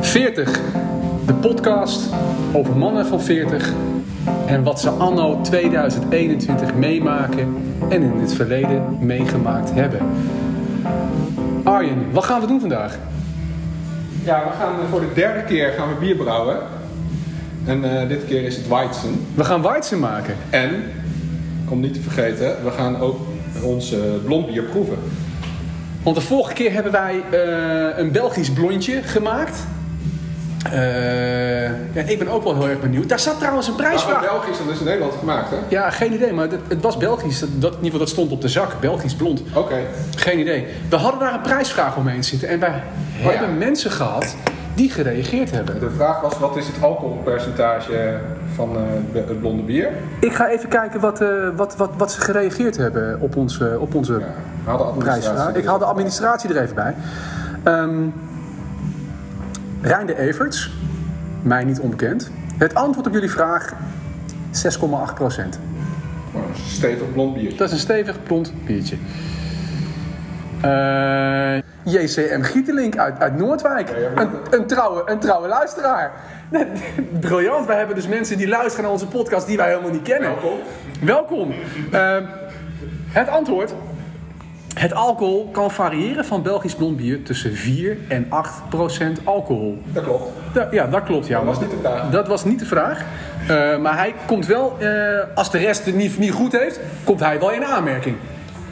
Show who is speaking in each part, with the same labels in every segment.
Speaker 1: 40, de podcast over mannen van 40 en wat ze anno 2021 meemaken en in het verleden meegemaakt hebben. Arjen, wat gaan we doen vandaag?
Speaker 2: Ja, we gaan eh, voor de derde keer gaan we bier brouwen. En eh, dit keer is het Weizen.
Speaker 1: We gaan Weizen maken.
Speaker 2: En, om niet te vergeten, we gaan ook ons eh, blond bier proeven.
Speaker 1: Want de vorige keer hebben wij eh, een Belgisch blondje gemaakt. Eh, ja, ik ben ook wel heel erg benieuwd. Daar zat trouwens een
Speaker 2: Maar
Speaker 1: prijsvraag.
Speaker 2: Nou, Belgisch, dat is in Nederland gemaakt, hè?
Speaker 1: Ja, geen idee, maar het, het was Belgisch. Dat, dat, in ieder geval, dat stond op de zak. Belgisch blond.
Speaker 2: Oké.
Speaker 1: Geen idee. We hadden daar een prijsvraag omheen zitten. En wij
Speaker 2: ja.
Speaker 1: hebben mensen gehad die gereageerd hebben.
Speaker 2: De vraag was, wat is het alcoholpercentage van eh, be- het blonde bier?
Speaker 1: Ik ga even kijken wat, eh, wat, wat, wat ze gereageerd hebben op onze, op onze
Speaker 2: Ja, we hadden
Speaker 1: prijsvraag.
Speaker 2: administratie.
Speaker 1: Ik haal de administratie er even bij. Ehm Rijn de Everts, mij niet onbekend. Het antwoord op jullie vraag, 6,8 procent.
Speaker 2: Nou, een Stevig blond bier.
Speaker 1: Dat is een stevig blond biertje. Eh, JCM Gietelink uit, uit Noordwijk.
Speaker 2: ja, maar-
Speaker 1: Een, een, trouwe, een trouwe luisteraar. Briljant, wij hebben dus mensen die luisteren naar onze podcast die wij helemaal niet kennen.
Speaker 2: Welkom.
Speaker 1: Welkom. Ehm, het antwoord. Het alcohol kan variëren van Belgisch blond bier tussen 4 en 8 procent alcohol.
Speaker 2: Dat klopt.
Speaker 1: Da- ja, dat klopt. Ja,
Speaker 2: Dat was
Speaker 1: maar-
Speaker 2: niet de vraag.
Speaker 1: Dat was niet de vraag. Eh, maar hij komt wel, eh, als de rest het niet, niet goed heeft, komt hij wel in aanmerking.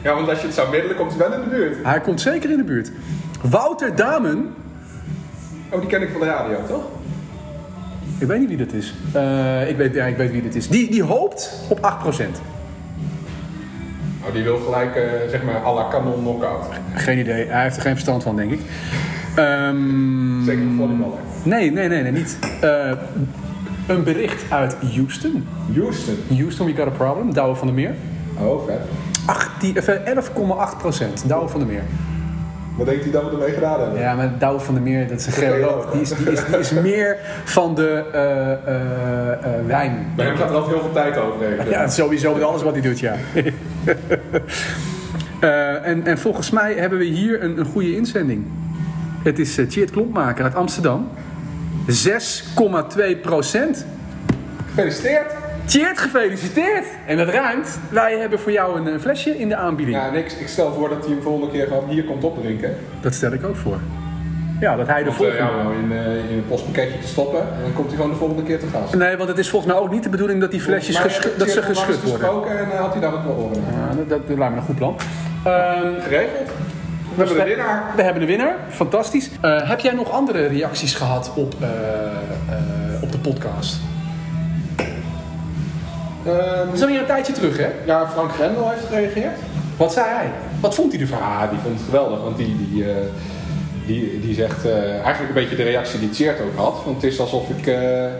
Speaker 2: Ja, want als je het zou middelen, komt het wel in de buurt.
Speaker 1: Hij komt zeker in de buurt. Wouter Damen,
Speaker 2: Oh, die ken ik van de radio, toch?
Speaker 1: ik weet niet wie dat is. Eh, ik, weet, ja, ik weet wie dit is. Die, die hoopt op 8%.
Speaker 2: Nou, die wil gelijk, eh, zeg maar, à la kanon knockout.
Speaker 1: Geen idee, hij heeft er geen verstand van, denk ik. Ehm,
Speaker 2: Zeker een volleyballer.
Speaker 1: nee, nee, nee, nee, niet. Eh, een bericht uit Houston.
Speaker 2: Houston.
Speaker 1: Houston, we got a problem. Douwe van der Meer.
Speaker 2: Oh, vet.
Speaker 1: 18, of, eh, 11,8%. Douwe van der Meer.
Speaker 2: Wat denkt hij dat we ermee gedaan hebben?
Speaker 1: Ja, maar Douwe van der Meer, dat is een geoloog. Die is, die is, die is meer van de eh, eh, eh, wijn.
Speaker 2: Bij hem gaat er altijd heel veel tijd overheen.
Speaker 1: Ja, sowieso met alles wat hij doet, ja. Eh, en, en volgens mij hebben we hier een, een goede inzending. Het is eh, Tjeerd Klompmaker uit Amsterdam. 6,2 procent.
Speaker 2: Gefeliciteerd!
Speaker 1: Tjeerd, gefeliciteerd! En dat ruimt. Wij hebben voor jou een, eh, flesje in de aanbieding.
Speaker 2: Ja, niks. Ik stel voor dat hij hem volgende keer gewoon hier komt opdrinken.
Speaker 1: Dat stel ik ook voor. Ja, dat hij de
Speaker 2: Of eh,
Speaker 1: volgende...
Speaker 2: ja, om hem in, eh, in een postpakketje te stoppen. En dan komt hij gewoon de volgende keer te gast.
Speaker 1: Nee, want het is volgens mij ook niet de bedoeling dat die flesjes
Speaker 2: Maar eh,
Speaker 1: geschu-
Speaker 2: heb ik
Speaker 1: dat ze
Speaker 2: Thierry onlangs
Speaker 1: geschud worden.
Speaker 2: gesproken en eh, had hij daar wat wel horen.
Speaker 1: Ja, Nou, dat, dat lijkt me een goed plan. Ehm,
Speaker 2: Geregeld? We hebben de winnaar.
Speaker 1: We hebben de winnaar, fantastisch. Eh, heb jij nog andere reacties gehad op, eh, eh, op de podcast? Dat
Speaker 2: Ehm,
Speaker 1: is alweer een tijdje terug, hè?
Speaker 2: ja, Frank Grendel heeft gereageerd.
Speaker 1: Wat zei hij? Wat vond hij ervan?
Speaker 2: Ja, die vond het geweldig, want die, die, eh, die, die zegt eh, eigenlijk een beetje de reactie die Tjeerd ook had. Want het is alsof ik eh, eh,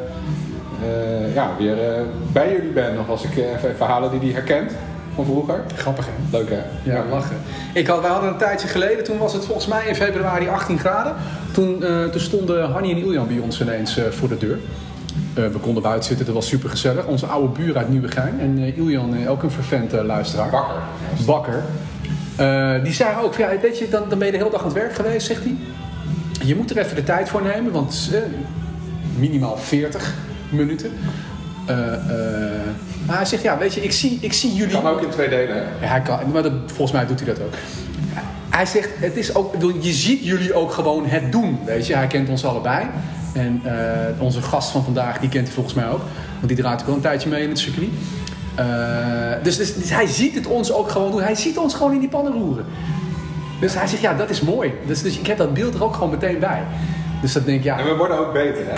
Speaker 2: ja, weer eh, bij jullie ben, of als ik eh, even verhalen die hij herkent van vroeger.
Speaker 1: Grappig, hè?
Speaker 2: Leuk hè?
Speaker 1: Ja, lachen. Ik had, wij hadden een tijdje geleden, toen was het volgens mij in februari 18 graden. Toen, eh, toen stonden Hanny en Iljan bij ons ineens eh, voor de deur. Eh, we konden buiten zitten, dat was super gezellig. Onze oude buur uit Nieuwegein. En eh, Iljan, eh, ook een vervent eh, luisteraar.
Speaker 2: Bakker.
Speaker 1: Bakker. Eh, die zei ook, ja, weet je, dan, dan ben je de hele dag aan het werk geweest, zegt hij. Je moet er even de tijd voor nemen, want eh, minimaal 40 minuten. Eh, eh, maar hij zegt, ja, weet je, ik zie, ik zie jullie...
Speaker 2: Kan ook in twee delen hè?
Speaker 1: Ja, hij kan, maar dat, volgens mij doet hij dat ook. Hij zegt, het is ook, ik bedoel, je ziet jullie ook gewoon het doen, weet je. Hij kent ons allebei. En eh, onze gast van vandaag, die kent hij volgens mij ook. Want die draait ook al een tijdje mee in het circuit. Eh, dus, dus, dus hij ziet het ons ook gewoon doen. Hij ziet ons gewoon in die pannen roeren. Dus hij zegt, ja, dat is mooi. Dus, dus ik heb dat beeld er ook gewoon meteen bij. Dus dat denk ik, ja,
Speaker 2: En we worden ook beter hè?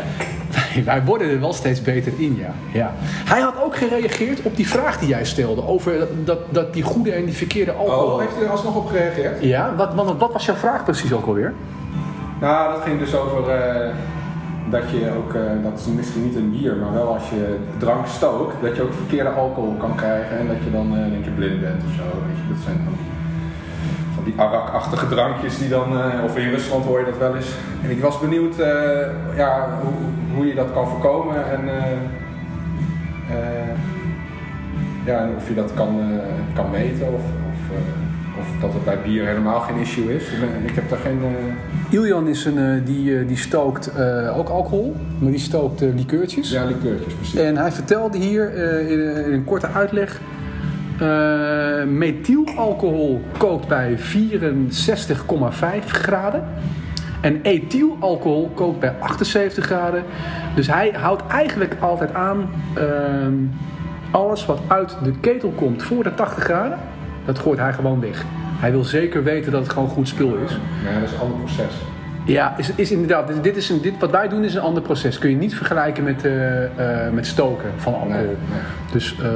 Speaker 1: wij, wij worden er wel steeds beter in, ja. ja. Hij had ook gereageerd op die vraag die jij stelde over dat, dat, dat die goede en die verkeerde alcohol.
Speaker 2: Oh, heeft hij er alsnog op gereageerd?
Speaker 1: Ja, wat, wat, wat was jouw vraag precies ook alweer?
Speaker 2: Nou, dat ging dus over eh, dat je ook, eh, dat is misschien niet een bier, maar wel als je drank stookt, dat je ook verkeerde alcohol kan krijgen en dat je dan eh denk je blind bent of zo. Weet je, dat zijn van die, van die arak-achtige drankjes die dan, eh, of in Rusland hoor je dat wel eens. En ik was benieuwd eh, ja, hoe, hoe je dat kan voorkomen en eh, eh, ja, en of je dat kan, eh, kan meten of, of, eh, of dat het bij bier helemaal geen issue is. Ik ben- Ik heb daar geen... eh,
Speaker 1: Iljan is een, eh, die, eh, die stookt eh, ook alcohol, maar die stookt eh, likeurtjes.
Speaker 2: Ja, likeurtjes, precies.
Speaker 1: En hij vertelde hier eh, in, een- in een korte uitleg. eh, methylalcohol kookt bij 64,5 graden. En ethylalcohol kookt bij 78 graden. Dus hij houdt eigenlijk altijd aan ehm, alles wat uit de ketel komt voor de 80 graden. Dat gooit hij gewoon weg. Hij wil zeker weten dat het gewoon goed spul is.
Speaker 2: Maar ja, dat is een ander proces.
Speaker 1: Ja, is, is inderdaad. Dit, dit is een, dit, wat wij doen is een ander proces. Kun je niet vergelijken met, eh, eh, met stoken van alcohol.
Speaker 2: Nee, nee.
Speaker 1: Dus eh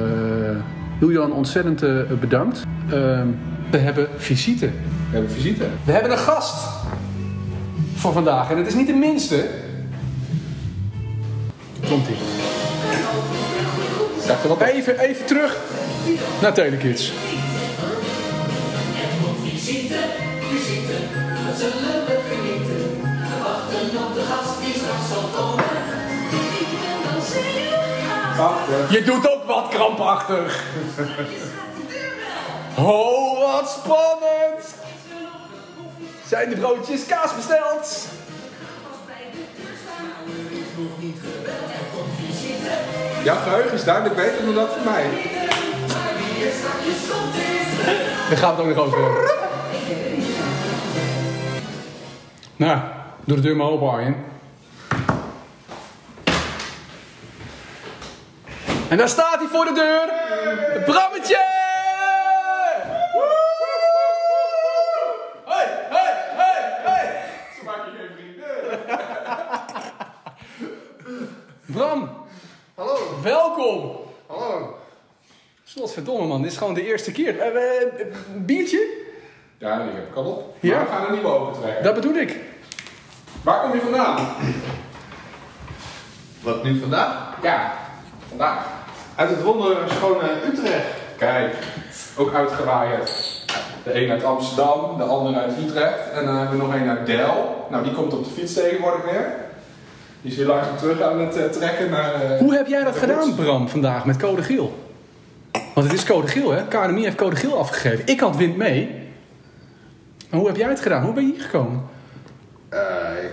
Speaker 1: Julian, ontzettend eh, bedankt. Ehm, we hebben visite.
Speaker 2: We hebben visite.
Speaker 1: We hebben een gast voor vandaag. En het is niet de minste. Komt ie.
Speaker 2: Zegt er wat bij?
Speaker 1: Even, even terug naar Telekids.
Speaker 3: Er komt visite, visite, dat zullen we genieten. We wachten op de gast die straks zal komen. Ik ben dan zeer graag.
Speaker 2: Ah, ja.
Speaker 1: Je doet ook wat krampachtig. Oh, wat spannend. Zijn de broodjes kaas besteld?
Speaker 2: Jouw geheugen is duidelijk beter dan dat van mij.
Speaker 1: Dan gaan we het ook nog over hebben. Nou, doe de deur maar open, Arjen. En daar staat hij voor de deur. Brammetje! Hey, hey, hey, hey! Bram! Hallo! Welkom! Slotverdomme man, dit is gewoon de eerste keer. Eh, eh, biertje?
Speaker 2: Ja, die heb ik al op.
Speaker 1: Ja?
Speaker 2: Maar we gaan er nieuwe open trekken.
Speaker 1: Dat bedoel ik.
Speaker 2: Waar kom je vandaan?
Speaker 4: Wat nu vandaag?
Speaker 2: Ja, vandaag.
Speaker 4: Uit het wonder schone Utrecht.
Speaker 2: Kijk, ook uitgewaaid. De een uit Amsterdam, de ander uit Utrecht. En dan hebben we nog een uit Del. Nou, die komt op de fiets tegenwoordig weer. Die is weer langzaam terug aan het eh, trekken naar... eh,
Speaker 1: Hoe heb jij dat
Speaker 2: de
Speaker 1: gedaan,
Speaker 2: rots.
Speaker 1: Bram, vandaag met code geel? Want het is code geel, hè? KNMI heeft code geel afgegeven. Ik had wind mee. Maar hoe heb jij het gedaan? Hoe ben je hier gekomen?
Speaker 4: Eh,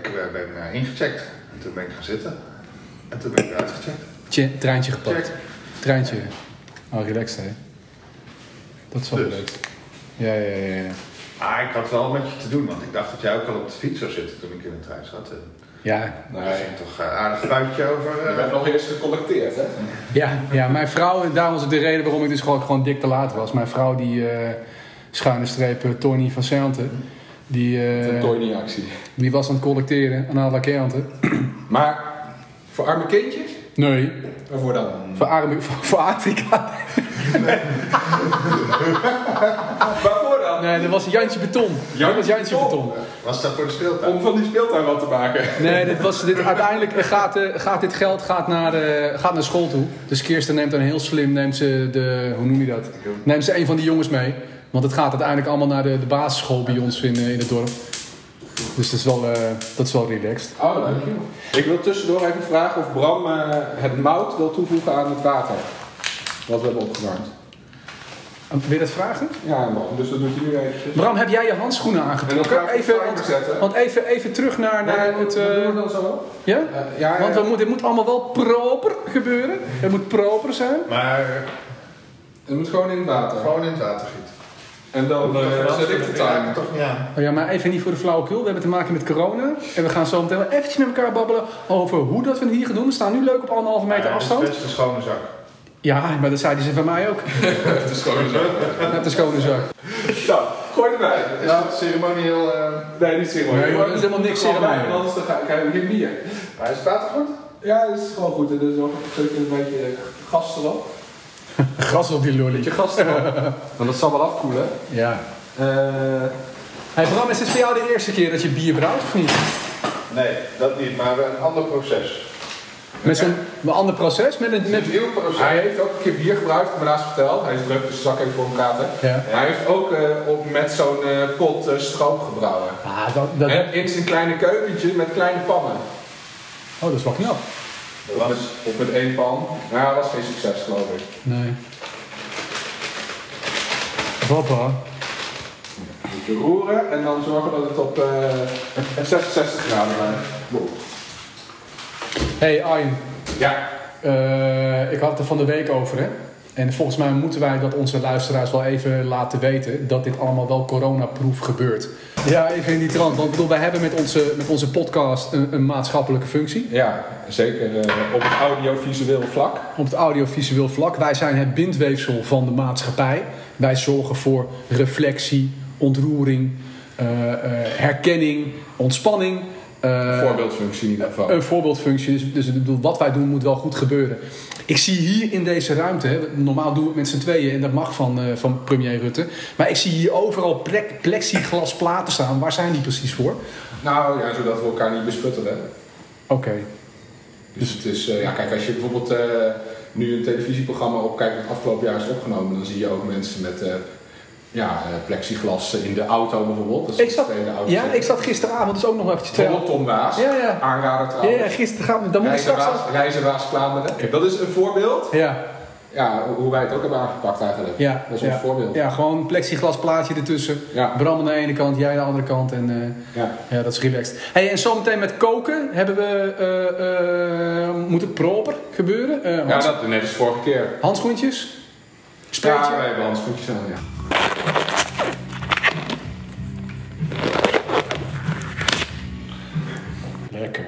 Speaker 4: ik eh, ben eh, ingecheckt. En toen ben ik gaan zitten. En toen ben ik uitgecheckt.
Speaker 1: Tje, treintje gepakt.
Speaker 4: Check.
Speaker 1: Treintje. Oh, relaxed, hè? Dat is wel
Speaker 4: Dus.
Speaker 1: leuk. Ja, ja, ja. ja.
Speaker 4: Maar ik had wel met je te doen, want ik dacht dat jij ook al op de fiets zou zitten toen ik in de trein zat. En
Speaker 1: Ja,
Speaker 4: Daar
Speaker 2: Nee,
Speaker 4: ging toch eh, aardig buitje over.
Speaker 2: je
Speaker 4: eh.
Speaker 2: bent nog eerst gecollecteerd, hè?
Speaker 1: Ja, ja, mijn vrouw, en daarom is het de reden waarom ik dus gewoon, gewoon dik te laat was. Mijn vrouw, die eh, schuine streep eh, Tony van Santen, die, eh,
Speaker 2: De Toyny-actie.
Speaker 1: die was aan het collecteren aan alle klanten.
Speaker 2: Maar, voor arme kindjes?
Speaker 1: Nee,
Speaker 2: Waarvoor dan?
Speaker 1: voor, arme, voor, voor Afrika.
Speaker 2: Waarvoor dan?
Speaker 1: Nee, dat was Jantje Beton. dat was Jantje Beton.
Speaker 4: Was dat voor de speeltuin?
Speaker 2: Om van die speeltuin wat te maken.
Speaker 1: Nee, dit was, dit, uiteindelijk gaat, eh, gaat dit geld gaat naar, eh, gaat naar school toe. Dus Kirsten neemt dan heel slim, neemt ze de, hoe noem je dat? Neemt ze een van die jongens mee. Want het gaat uiteindelijk allemaal naar de, de basisschool bij ons in, eh, in het dorp. Dus dat is wel, eh, dat is wel relaxed.
Speaker 2: Oh, leuk Ik wil tussendoor even vragen of Bram eh, het mout wil toevoegen aan het water. Wat we hebben opgewarmd.
Speaker 1: Ehm, Wil je dat vragen?
Speaker 2: Ja, Bram, dus dat doet hij nu eventjes.
Speaker 1: Bram, heb jij je handschoenen
Speaker 2: En dan
Speaker 1: aangetrokken?
Speaker 2: ga ik
Speaker 1: Even,
Speaker 2: het
Speaker 1: want,
Speaker 2: zetten.
Speaker 1: want even, even terug naar, naar
Speaker 2: Nee,
Speaker 1: het...
Speaker 2: dat
Speaker 1: eh,
Speaker 2: doen we dan zo?
Speaker 1: ja?
Speaker 2: Eh, ja, ja,
Speaker 1: Want we
Speaker 2: ja.
Speaker 1: moeten- dit moet allemaal wel proper gebeuren. Het moet proper zijn.
Speaker 4: Maar eh,
Speaker 2: Het moet gewoon in het water.
Speaker 4: gewoon in het water gieten.
Speaker 2: En dan eh, zet ik de timer.
Speaker 4: Toch niet aan.
Speaker 1: Oh ja, maar even niet voor de flauwekul. We hebben te maken met corona. En we gaan zo meteen wel eventjes met elkaar babbelen over hoe dat we het hier gaan doen. We staan nu leuk op anderhalve meter
Speaker 4: Maar het is
Speaker 1: afstand.
Speaker 4: Best een schone zak.
Speaker 1: Ja, maar dat zeiden ze van mij ook.
Speaker 2: Het is gewoon zo.
Speaker 1: Met de schone zak.
Speaker 2: Nou, gooi erbij.
Speaker 4: Is dat ceremonieel... eh,
Speaker 2: Nee, niet serieus.
Speaker 1: Nee, dat is helemaal niks ceremonie.
Speaker 2: Want anders dan ga krijgen we geen bier.
Speaker 4: Maar is het water goed?
Speaker 2: Ja, dat is gewoon goed. En dus nog zeker een beetje eh, gas erop.
Speaker 1: Gras op die lolly.
Speaker 2: Beetje gas erop. Want dat zal wel afkoelen.
Speaker 1: Ja.
Speaker 2: Eh
Speaker 1: Hey Bram, is dit voor jou de eerste keer dat je bier brouwt of niet?
Speaker 4: Nee, dat niet. Maar een ander proces.
Speaker 1: Met zo'n met een ander proces? Met een, met...
Speaker 4: Een nieuw proces.
Speaker 2: Hij heeft ook een keer bier gebruikt, maar naast verteld. Hij is druk, dus zal ik even voor hem praten.
Speaker 1: Ja.
Speaker 2: Hij heeft ook eh, op, met zo'n eh, pot eh, stroop gebrouwen.
Speaker 1: Ah, dat, dat...
Speaker 2: En in zijn kleine keukentje met kleine pannen.
Speaker 1: Oh, dat is wel knap.
Speaker 4: Dat was...
Speaker 2: Of met één pan. Nou, dat was geen succes, geloof ik.
Speaker 1: Nee. Papa.
Speaker 2: roeren en dan zorgen dat het op eh 66 graden blijft. Wow.
Speaker 1: Hey Arjen,
Speaker 2: Ja.
Speaker 1: eh, ik had het er van de week over hè. En volgens mij moeten wij dat onze luisteraars wel even laten weten dat dit allemaal wel coronaproof gebeurt. Ja, even in die trant. Want ik bedoel, wij hebben met onze, met onze podcast een, een maatschappelijke functie.
Speaker 2: Ja, zeker eh, op het audiovisueel vlak.
Speaker 1: Op het audiovisueel vlak. Wij zijn het bindweefsel van de maatschappij. Wij zorgen voor reflectie, ontroering, eh, eh, herkenning, ontspanning. eh,
Speaker 2: Voorbeeldfunctie in ieder geval.
Speaker 1: Een voorbeeldfunctie. Dus, dus ik bedoel, wat wij doen moet wel goed gebeuren. Ik zie hier in deze ruimte, hè, normaal doen we het met z'n tweeën en dat mag van, eh, van premier Rutte. Maar ik zie hier overal plek, plexiglasplaten staan. Waar zijn die precies voor?
Speaker 2: Nou ja, zodat we elkaar niet besputteren.
Speaker 1: Oké.
Speaker 2: Dus het is, eh, ja, kijk, als je bijvoorbeeld eh, nu een televisieprogramma opkijkt dat afgelopen jaar is opgenomen, dan zie je ook mensen met eh, ja, eh, plexiglas in de auto bijvoorbeeld. Dat is
Speaker 1: Ik zat,
Speaker 2: in de auto.
Speaker 1: ja, ik zat gisteravond dus ook nog eventjes te
Speaker 2: Bijvoorbeeld Tom Waas,
Speaker 1: Ja, ja.
Speaker 2: aanrader
Speaker 1: Ja,
Speaker 2: trouwens.
Speaker 1: ja, gisteren gaan we, dan moet ik straks
Speaker 2: Reizenwaas,
Speaker 1: af.
Speaker 2: Reizenwaas Vlaanderen. Dat is een voorbeeld.
Speaker 1: Ja,
Speaker 2: Ja, hoe wij het ook hebben aangepakt eigenlijk.
Speaker 1: ja.
Speaker 2: dat is
Speaker 1: ja.
Speaker 2: ons voorbeeld.
Speaker 1: Ja, gewoon plexiglasplaatje ertussen.
Speaker 2: Ja.
Speaker 1: Bram aan de ene kant, jij aan de andere kant en... eh,
Speaker 2: Ja.
Speaker 1: Ja, dat is relaxed. Hey, en zometeen met koken hebben we, eh, eh, moet het proper gebeuren? Eh,
Speaker 2: Ja,
Speaker 1: hands-
Speaker 2: dat net als vorige keer.
Speaker 1: Handschoentjes?
Speaker 2: Ja,
Speaker 1: Spreetje?
Speaker 2: wij hebben handschoentjes aan, ja. eh,
Speaker 1: Lekker.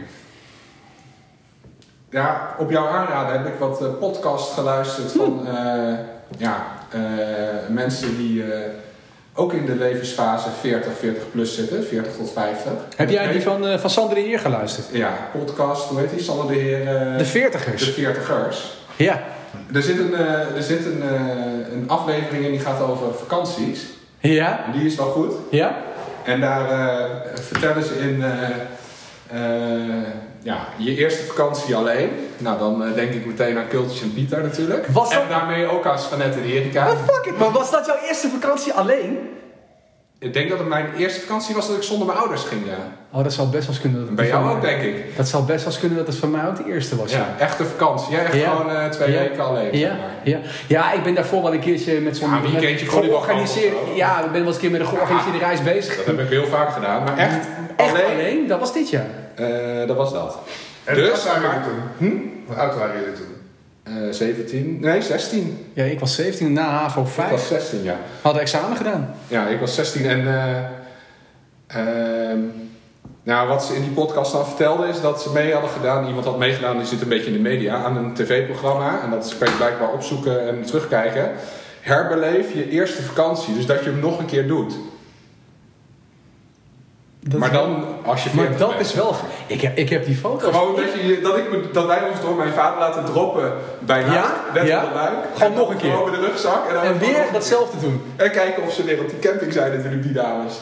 Speaker 2: Ja, op jouw aanraden heb ik wat eh, podcasts geluisterd van
Speaker 1: Hm.
Speaker 2: eh, ja, eh, mensen die eh, ook in de levensfase 40, 40 plus zitten, 40 tot 50.
Speaker 1: Heb jij die van, eh van Sander de Heer geluisterd?
Speaker 2: Ja, podcast, hoe heet die? Sander de Heer, eh,
Speaker 1: De
Speaker 2: de
Speaker 1: veertigers?
Speaker 2: 40ers.
Speaker 1: Ja.
Speaker 2: Er zit, een, eh, er zit een, eh, een aflevering in die gaat over vakanties.
Speaker 1: Ja?
Speaker 2: En die is wel goed.
Speaker 1: Ja?
Speaker 2: En daar eh, vertellen ze in eh, eh, ja, je eerste vakantie alleen. Nou, dan eh, denk ik meteen aan Kultjes en Pieter natuurlijk.
Speaker 1: Was dat-
Speaker 2: En daarmee ook aan Svanette en Erika.
Speaker 1: Ah, fuck it, maar was dat jouw eerste vakantie alleen?
Speaker 2: Ik denk dat het mijn eerste vakantie was dat ik zonder mijn ouders ging, ja.
Speaker 1: Oh, dat zou best wel eens kunnen. Dat het
Speaker 2: Bij
Speaker 1: van
Speaker 2: jou
Speaker 1: mij-
Speaker 2: ook, denk ik.
Speaker 1: Dat zou best wel eens kunnen dat het van mij ook de eerste was.
Speaker 2: Ja, echte vakantie. Jij echt
Speaker 1: Ja.
Speaker 2: gewoon eh, twee
Speaker 1: Ja.
Speaker 2: weken alleen. zeg
Speaker 1: Ja,
Speaker 2: maar.
Speaker 1: ja. ja, ik ben daarvoor wel een keertje met zo'n
Speaker 2: Ja, een weekendje
Speaker 1: met-
Speaker 2: volleybalkamp
Speaker 1: georganiseerd.
Speaker 2: of zo.
Speaker 1: Ja, ik ben wel eens een keer met een georganiseerde reis bezig.
Speaker 2: Dat heb ik heel vaak gedaan, maar echt,
Speaker 1: Echt
Speaker 2: alleen,
Speaker 1: alleen? Dat was dit jaar.
Speaker 2: eh, dat was dat.
Speaker 4: En
Speaker 2: Dus,
Speaker 4: dus, hoe oud waren
Speaker 2: maar-
Speaker 4: jullie toen? Hm? Hoe oud waren jullie toen?
Speaker 2: Eh, 17, nee 16.
Speaker 1: Ja, ik was 17 na HAVO 5.
Speaker 2: Ik was 16, ja.
Speaker 1: Hadden examen gedaan.
Speaker 2: Ja, ik was 16 en. eh, ehm, nou, wat ze in die podcast dan vertelde is dat ze mee hadden gedaan. Iemand had meegedaan, die zit een beetje in de media, aan een tv-programma. En dat kan je blijkbaar opzoeken en terugkijken. Herbeleef je eerste vakantie, dus dat je hem nog een keer doet. maar dan, als je 40
Speaker 1: maar dat
Speaker 2: bent.
Speaker 1: is wel... Ik heb, ik heb die foto's.
Speaker 2: Gewoon dat, je, dat, ik, me- dat wij ons door mijn vader laten droppen bij Luik.
Speaker 1: Ja,
Speaker 2: net
Speaker 1: ja.
Speaker 2: op de luik.
Speaker 1: Gewoon
Speaker 2: En
Speaker 1: nog een keer.
Speaker 2: Gewoon met de rugzak. En, dan
Speaker 1: En
Speaker 2: nog een
Speaker 1: weer
Speaker 2: keer.
Speaker 1: datzelfde doen.
Speaker 2: En kijken of ze weer op die camping zijn natuurlijk, die dames.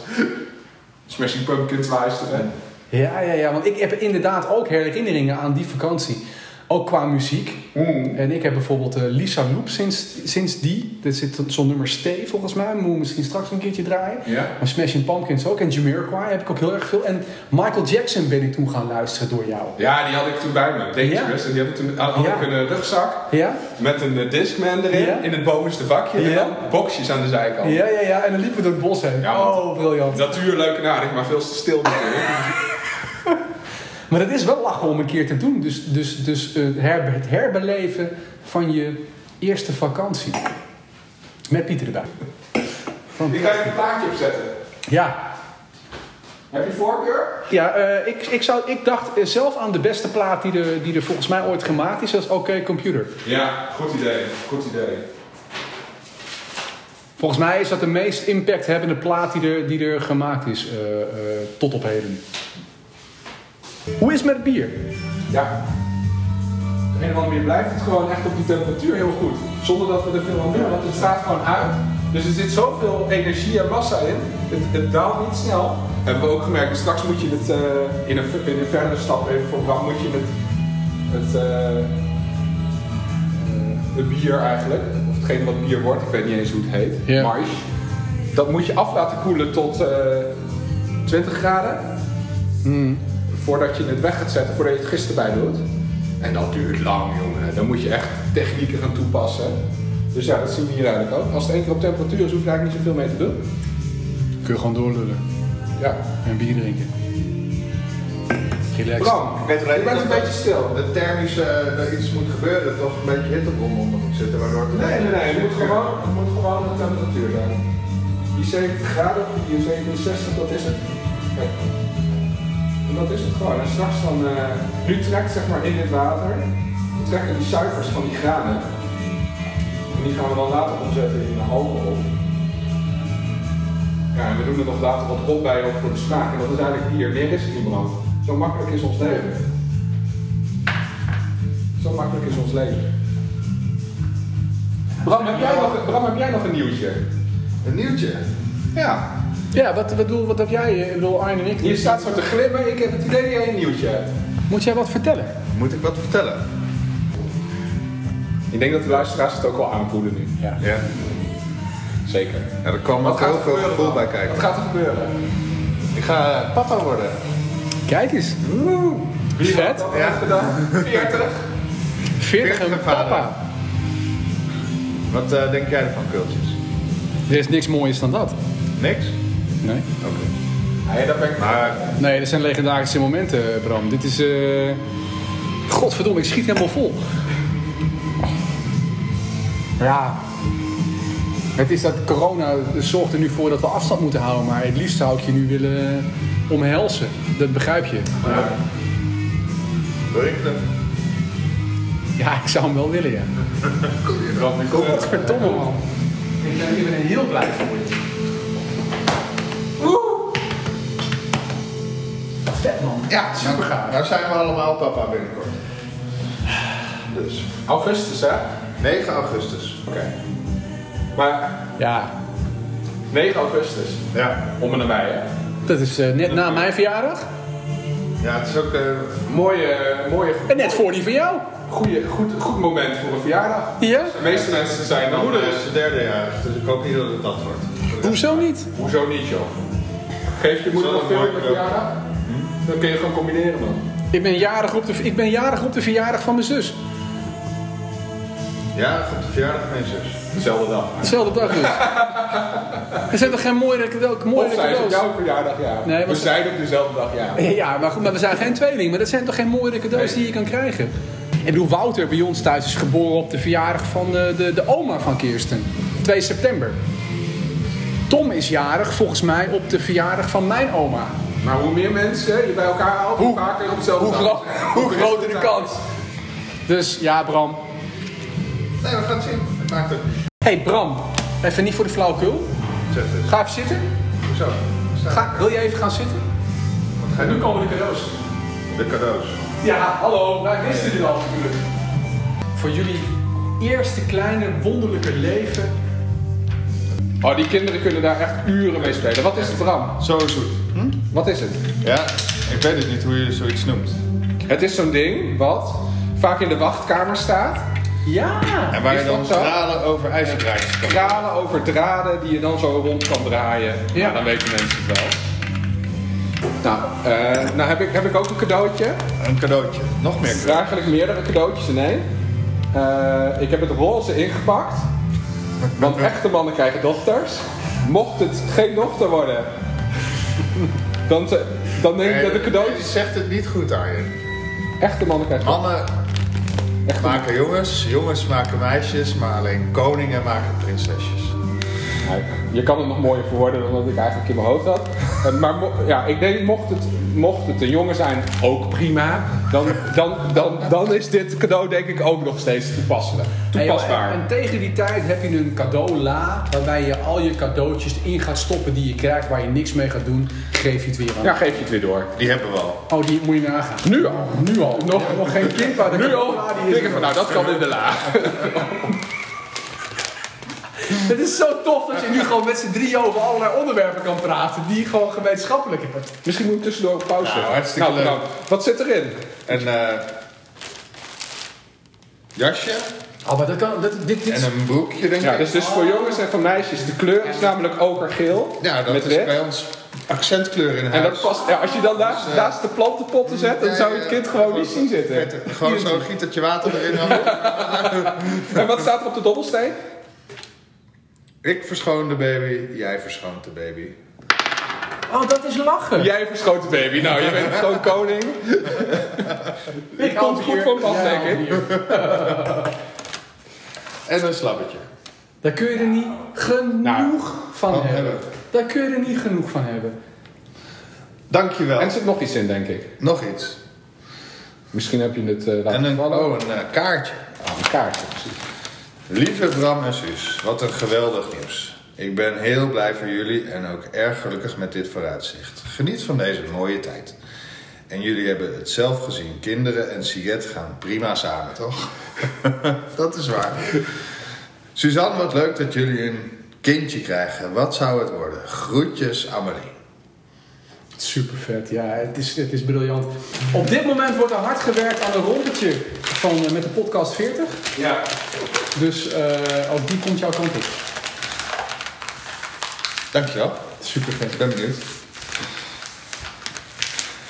Speaker 2: Smashing Pumpkins luisteren.
Speaker 1: Ja, ja, ja. Want ik heb inderdaad ook herinneringen aan die vakantie. Ook qua muziek.
Speaker 2: Hmm.
Speaker 1: En ik heb bijvoorbeeld eh, Lisa Loep sinds, sinds die. Er zit zo'n nummer Stee volgens mij. Moet we misschien straks een keertje draaien.
Speaker 2: Ja.
Speaker 1: Maar Smashing Pumpkins ook. En Jamiroquai heb ik ook heel erg veel. En Michael Jackson ben ik toen gaan luisteren door jou.
Speaker 2: Ja, die had ik toen bij me. Dangerous. En die had ik toen had
Speaker 1: Ja.
Speaker 2: ik een eh, rugzak
Speaker 1: Ja?
Speaker 2: met een eh, Discman erin.
Speaker 1: Ja.
Speaker 2: In het bovenste vakje. En
Speaker 1: Ja.
Speaker 2: dan boxjes aan de zijkant.
Speaker 1: Ja, ja, ja. En dan liepen we door het bos heen.
Speaker 2: Ja, want-
Speaker 1: oh, briljant.
Speaker 2: Natuur leuk en aardig, maar veel te stil natuurlijk.
Speaker 1: Maar het is wel lachen om een keer te doen. Dus, dus, dus eh, herbe- het herbeleven van je eerste vakantie. Met Pieter erbij.
Speaker 2: Ik ga even een plaatje opzetten.
Speaker 1: Ja,
Speaker 2: Heb je voorkeur?
Speaker 1: ja eh, ik, ik, zou, ik dacht eh, zelf aan de beste plaat die er, die er volgens mij ooit gemaakt is. Dat is OK Computer.
Speaker 2: Ja, goed idee. Goed idee.
Speaker 1: Volgens mij is dat de meest impacthebbende plaat die er, die er gemaakt is eh, eh, tot op heden. Hoe is het met bier?
Speaker 2: Ja. Op een of andere manier blijft het gewoon echt op die temperatuur heel goed. Zonder dat we er veel aan doen, want het staat gewoon uit. Dus er zit zoveel energie en massa in. Het, het daalt niet snel. Hebben we ook gemerkt, dus straks moet je het eh, in, een, ver- in een verdere stap even voor Bram, moet je het, het, eh, eh, het bier eigenlijk, of hetgeen wat bier wordt, ik weet niet eens hoe het heet,
Speaker 1: Ja.
Speaker 2: marge. Dat moet je af laten koelen tot eh, 20 graden
Speaker 1: Hmm.
Speaker 2: voordat je het weg gaat zetten, voordat je het gisteren bij doet. En dat duurt lang, jongen. Dan moet je echt technieken gaan toepassen. Dus ja, dat zien we hier eigenlijk ook. Als het één keer op temperatuur is, hoef je er eigenlijk niet zoveel mee te doen.
Speaker 1: kun je gewoon doorlullen
Speaker 2: Ja.
Speaker 1: en bier drinken. Relax.
Speaker 2: Bram,
Speaker 4: Ik
Speaker 2: je
Speaker 4: weet alleen
Speaker 2: bent
Speaker 4: dat
Speaker 2: een
Speaker 4: dat-
Speaker 2: beetje stil.
Speaker 4: De thermische, er iets moet gebeuren, toch een beetje hittebrand onder moet zitten, waardoor het...
Speaker 2: Nee, nee, nee. Het moet gewoon, het moet gewoon de temperatuur zijn. Die 70 graden, of die 67, dat is het. Kijk. En dat is het gewoon. En straks dan, eh, nu trekt zeg maar in dit water, trekken die suikers van die granen. En die gaan we dan later omzetten in alcohol. Ja, en we doen er nog later wat op bij ook voor de smaak. En dat is eigenlijk bier. Meer is het niet, brand. Zo makkelijk is ons leven. Zo makkelijk is ons leven. Bram, heb jij nog, Bram, heb jij nog een nieuwtje?
Speaker 4: Een nieuwtje.
Speaker 2: Ja.
Speaker 1: Ja, wat, wat, bedoel, wat heb jij? eh, Ik bedoel, Arjen en ik.
Speaker 2: Je staat zo te glimmen, ik heb het idee dat jij een nieuwtje hebt.
Speaker 1: Moet jij wat vertellen?
Speaker 4: Moet ik wat vertellen?
Speaker 2: Ik denk dat de luisteraars het ook wel aanvoelen nu.
Speaker 1: Ja.
Speaker 4: Ja.
Speaker 2: Zeker.
Speaker 4: Ja, er kwam ook heel veel gevoel bij kijken.
Speaker 2: Wat gaat er gebeuren?
Speaker 4: Ik ga eh, papa worden.
Speaker 1: Kijk eens.
Speaker 2: Wie
Speaker 1: Vet.
Speaker 2: had dat
Speaker 4: Ja.
Speaker 2: ooit gedaan? 40.
Speaker 1: 40 en
Speaker 4: Veertig
Speaker 1: papa.
Speaker 4: vader. Wat eh, denk jij ervan, Kultjes?
Speaker 1: Er is niks moois dan dat.
Speaker 4: Niks?
Speaker 1: Nee.
Speaker 4: Oké.
Speaker 2: Nee, dat ben ik
Speaker 4: Maar
Speaker 1: Nee, dat zijn legendarische momenten, Bram. Dit is. eh, Godverdomme, ik schiet helemaal vol. Ja. Het is dat corona zorgt er nu voor dat we afstand moeten houden, maar het liefst zou ik je nu willen eh, omhelzen. Dat begrijp je.
Speaker 4: wil je knuffe?
Speaker 1: Ja, ik zou hem wel willen, ja. Godverdomme, man. Ik ben, ik ben heel blij voor je. Vet, man.
Speaker 4: Ja, super gaaf. Nou zijn we allemaal papa binnenkort. Dus.
Speaker 2: Augustus, hè?
Speaker 4: 9 augustus.
Speaker 2: Oké. Maar
Speaker 1: Ja,
Speaker 2: 9 augustus.
Speaker 4: Ja.
Speaker 2: Om en nabij, hè?
Speaker 1: dat is eh, net na mijn verjaardag
Speaker 4: Ja, het is ook... eh,
Speaker 2: Mooie, mooie
Speaker 1: en net voor die van jou.
Speaker 2: goede, goed, goed moment voor een verjaardag.
Speaker 1: Ja?
Speaker 2: De meeste mensen zijn
Speaker 4: mijn
Speaker 2: dan...
Speaker 4: moeder is de derde jaar, dus ik hoop niet dat het dat wordt.
Speaker 1: Hoezo niet?
Speaker 2: Hoezo niet, joh? Geef je moeder
Speaker 4: Zal
Speaker 2: nog
Speaker 4: een Hm?
Speaker 2: veel
Speaker 4: mooi
Speaker 2: met
Speaker 4: knop.
Speaker 2: verjaardag? Dan kun je gewoon combineren, man.
Speaker 1: Ik ben jarig op de, ik ben jarig op de verjaardag van mijn zus.
Speaker 4: Ja, op de verjaardag van mijn zus.
Speaker 2: Dezelfde dag.
Speaker 1: Hetzelfde dag dus. Er zijn toch geen mooiere cadeau,
Speaker 2: Of
Speaker 1: mooiere
Speaker 2: zij is op
Speaker 1: cadeaus?
Speaker 2: jouw verjaardag, ja.
Speaker 1: Nee,
Speaker 2: we
Speaker 1: want-
Speaker 2: zijn op dezelfde dag, ja.
Speaker 1: Ja, maar goed, maar we zijn geen tweeling. Maar dat zijn toch geen mooiere cadeaus
Speaker 2: Nee.
Speaker 1: die je kan krijgen? Ik bedoel, Wouter bij ons thuis is geboren op de verjaardag van eh, de, de oma van Kirsten. 2 september. Tom is jarig volgens mij op de verjaardag van mijn oma.
Speaker 2: Maar hoe meer mensen je bij elkaar haalt, hoe vaker op dezelfde
Speaker 1: Hoe,
Speaker 2: dag.
Speaker 1: gro- hoe groter de kans. Dus ja, Bram.
Speaker 4: Nee, we gaan het zien. Het maakt ook niet.
Speaker 1: Hé hey, Bram, even niet voor de flauwekul.
Speaker 4: Zeg het.
Speaker 1: Ga even zitten.
Speaker 4: Hoezo? Sta-
Speaker 1: Ga, wil jij even gaan zitten?
Speaker 4: Wat ga je
Speaker 2: Nu
Speaker 4: doen?
Speaker 2: komen de cadeaus.
Speaker 4: De cadeaus.
Speaker 1: Ja, hallo,
Speaker 2: Nou,
Speaker 1: wij wisten dit al natuurlijk. Voor jullie eerste kleine wonderlijke leven.
Speaker 2: Oh, die kinderen kunnen daar echt uren mee spelen. Wat is het, Bram?
Speaker 4: Zo zoet.
Speaker 2: Wat is het?
Speaker 4: Ja, ik weet het niet hoe je zoiets noemt.
Speaker 2: Het is zo'n ding wat vaak in de wachtkamer staat.
Speaker 1: Ja!
Speaker 4: En waar
Speaker 2: Is
Speaker 4: je dan
Speaker 2: dat zo?
Speaker 4: stralen over ijzer krijgt.
Speaker 2: Dralen over draden die je dan zo rond kan draaien. Ja.
Speaker 1: Ja.
Speaker 2: dan weten mensen het wel. Nou, eh, nou heb, ik, heb ik ook een cadeautje.
Speaker 4: Een cadeautje. Nog meer cadeau.
Speaker 2: Eigenlijk meerdere cadeautjes in één. Eh, ik heb het roze ingepakt. Want echte mannen krijgen dochters. Mocht het geen dochter worden, dan, ze- dan denk ik dat de
Speaker 4: Je
Speaker 2: cadeautjes.
Speaker 4: zegt het niet goed, Arjen.
Speaker 2: Echte mannen krijgen dochters.
Speaker 4: Mannen maken jongens, jongens maken meisjes, maar alleen koningen maken prinsesjes.
Speaker 2: Nou, Je kan het nog mooier verwoorden dan dat ik eigenlijk in mijn hoofd had. Eh, maar mo- ja, ik denk, mocht het, mocht het een jongen zijn, ook prima. Dan, dan, dan, dan is dit cadeau denk ik ook nog steeds toepasselijk. Toepasbaar.
Speaker 1: En tegen die tijd heb je een cadeaula waarbij je al je cadeautjes in gaat stoppen die je krijgt, waar je niks mee gaat doen. Geef je het weer aan.
Speaker 2: Ja, geef je het weer door.
Speaker 4: Die hebben we al.
Speaker 1: Oh, die moet je nagaan.
Speaker 2: Nu al.
Speaker 1: Nu al. Nog, nog geen kind, maar de
Speaker 2: Nu al.
Speaker 1: cadeaula die is
Speaker 2: Denk
Speaker 1: er
Speaker 2: ik van,
Speaker 1: al.
Speaker 2: nou dat kan in de laag.
Speaker 1: Het is zo tof dat je nu gewoon met z'n drieën over allerlei onderwerpen kan praten die gewoon gemeenschappelijk hebben.
Speaker 2: Misschien moet ik tussendoor op pauze.
Speaker 4: Nou, hartstikke leuk.
Speaker 2: bedankt. Wat zit erin?
Speaker 4: Een eh, jasje
Speaker 1: Oh, maar dat kan, dat, dit, dit
Speaker 4: en een broekje, denk
Speaker 2: Ja,
Speaker 4: ik.
Speaker 2: dus, dus voor jongens en voor meisjes. De kleur is namelijk okergeel.
Speaker 4: Ja, dat
Speaker 2: met
Speaker 4: is
Speaker 2: wit.
Speaker 4: bij ons accentkleur in
Speaker 2: En
Speaker 4: huis.
Speaker 2: dat past, ja, als je dan naast, naast de plantenpotten zet, dan zou je het kind gewoon niet zien zitten.
Speaker 4: Vet. Gewoon zo'n gietertje water erin. hangen.
Speaker 2: En wat staat er op de dobbelsteen?
Speaker 4: ik verschoon de baby, jij verschoont de baby.
Speaker 1: Oh, dat is lachen.
Speaker 2: Jij verschoot het baby. Nou, je bent gewoon koning. Ik
Speaker 1: haal
Speaker 2: komt
Speaker 1: het
Speaker 2: goed
Speaker 1: hier.
Speaker 2: van pas,
Speaker 1: Jij
Speaker 2: denk
Speaker 1: haalt het
Speaker 2: ik.
Speaker 1: hier.
Speaker 4: En een slabbetje.
Speaker 1: Daar kun je er niet genoeg
Speaker 2: Nou,
Speaker 1: van
Speaker 4: van
Speaker 1: hebben.
Speaker 4: hebben.
Speaker 1: Daar kun je er niet genoeg van hebben.
Speaker 4: Dankjewel.
Speaker 2: En er zit nog iets in, denk ik.
Speaker 4: Nog iets.
Speaker 2: Misschien heb je het eh, laten
Speaker 4: En een,
Speaker 2: vallen.
Speaker 4: oh, een eh, kaartje.
Speaker 2: Ah, een kaartje, precies.
Speaker 4: Lieve Bram en Suus, wat een geweldig nieuws. Ik ben heel blij voor jullie en ook erg gelukkig met dit vooruitzicht. Geniet van deze mooie tijd. En jullie hebben het zelf gezien. Kinderen en Siet gaan prima samen, toch? dat is waar. Suzanne, wat leuk dat jullie een kindje krijgen. Wat zou het worden? Groetjes, Amelie.
Speaker 1: Super vet, ja, het is, het is briljant. Op dit moment wordt er hard gewerkt aan een rondetje van, eh, met de podcast 40.
Speaker 5: Ja.
Speaker 1: Dus eh, ook die komt jouw kant op.
Speaker 4: Dankjewel.
Speaker 1: Super vet.
Speaker 4: Ik ben benieuwd.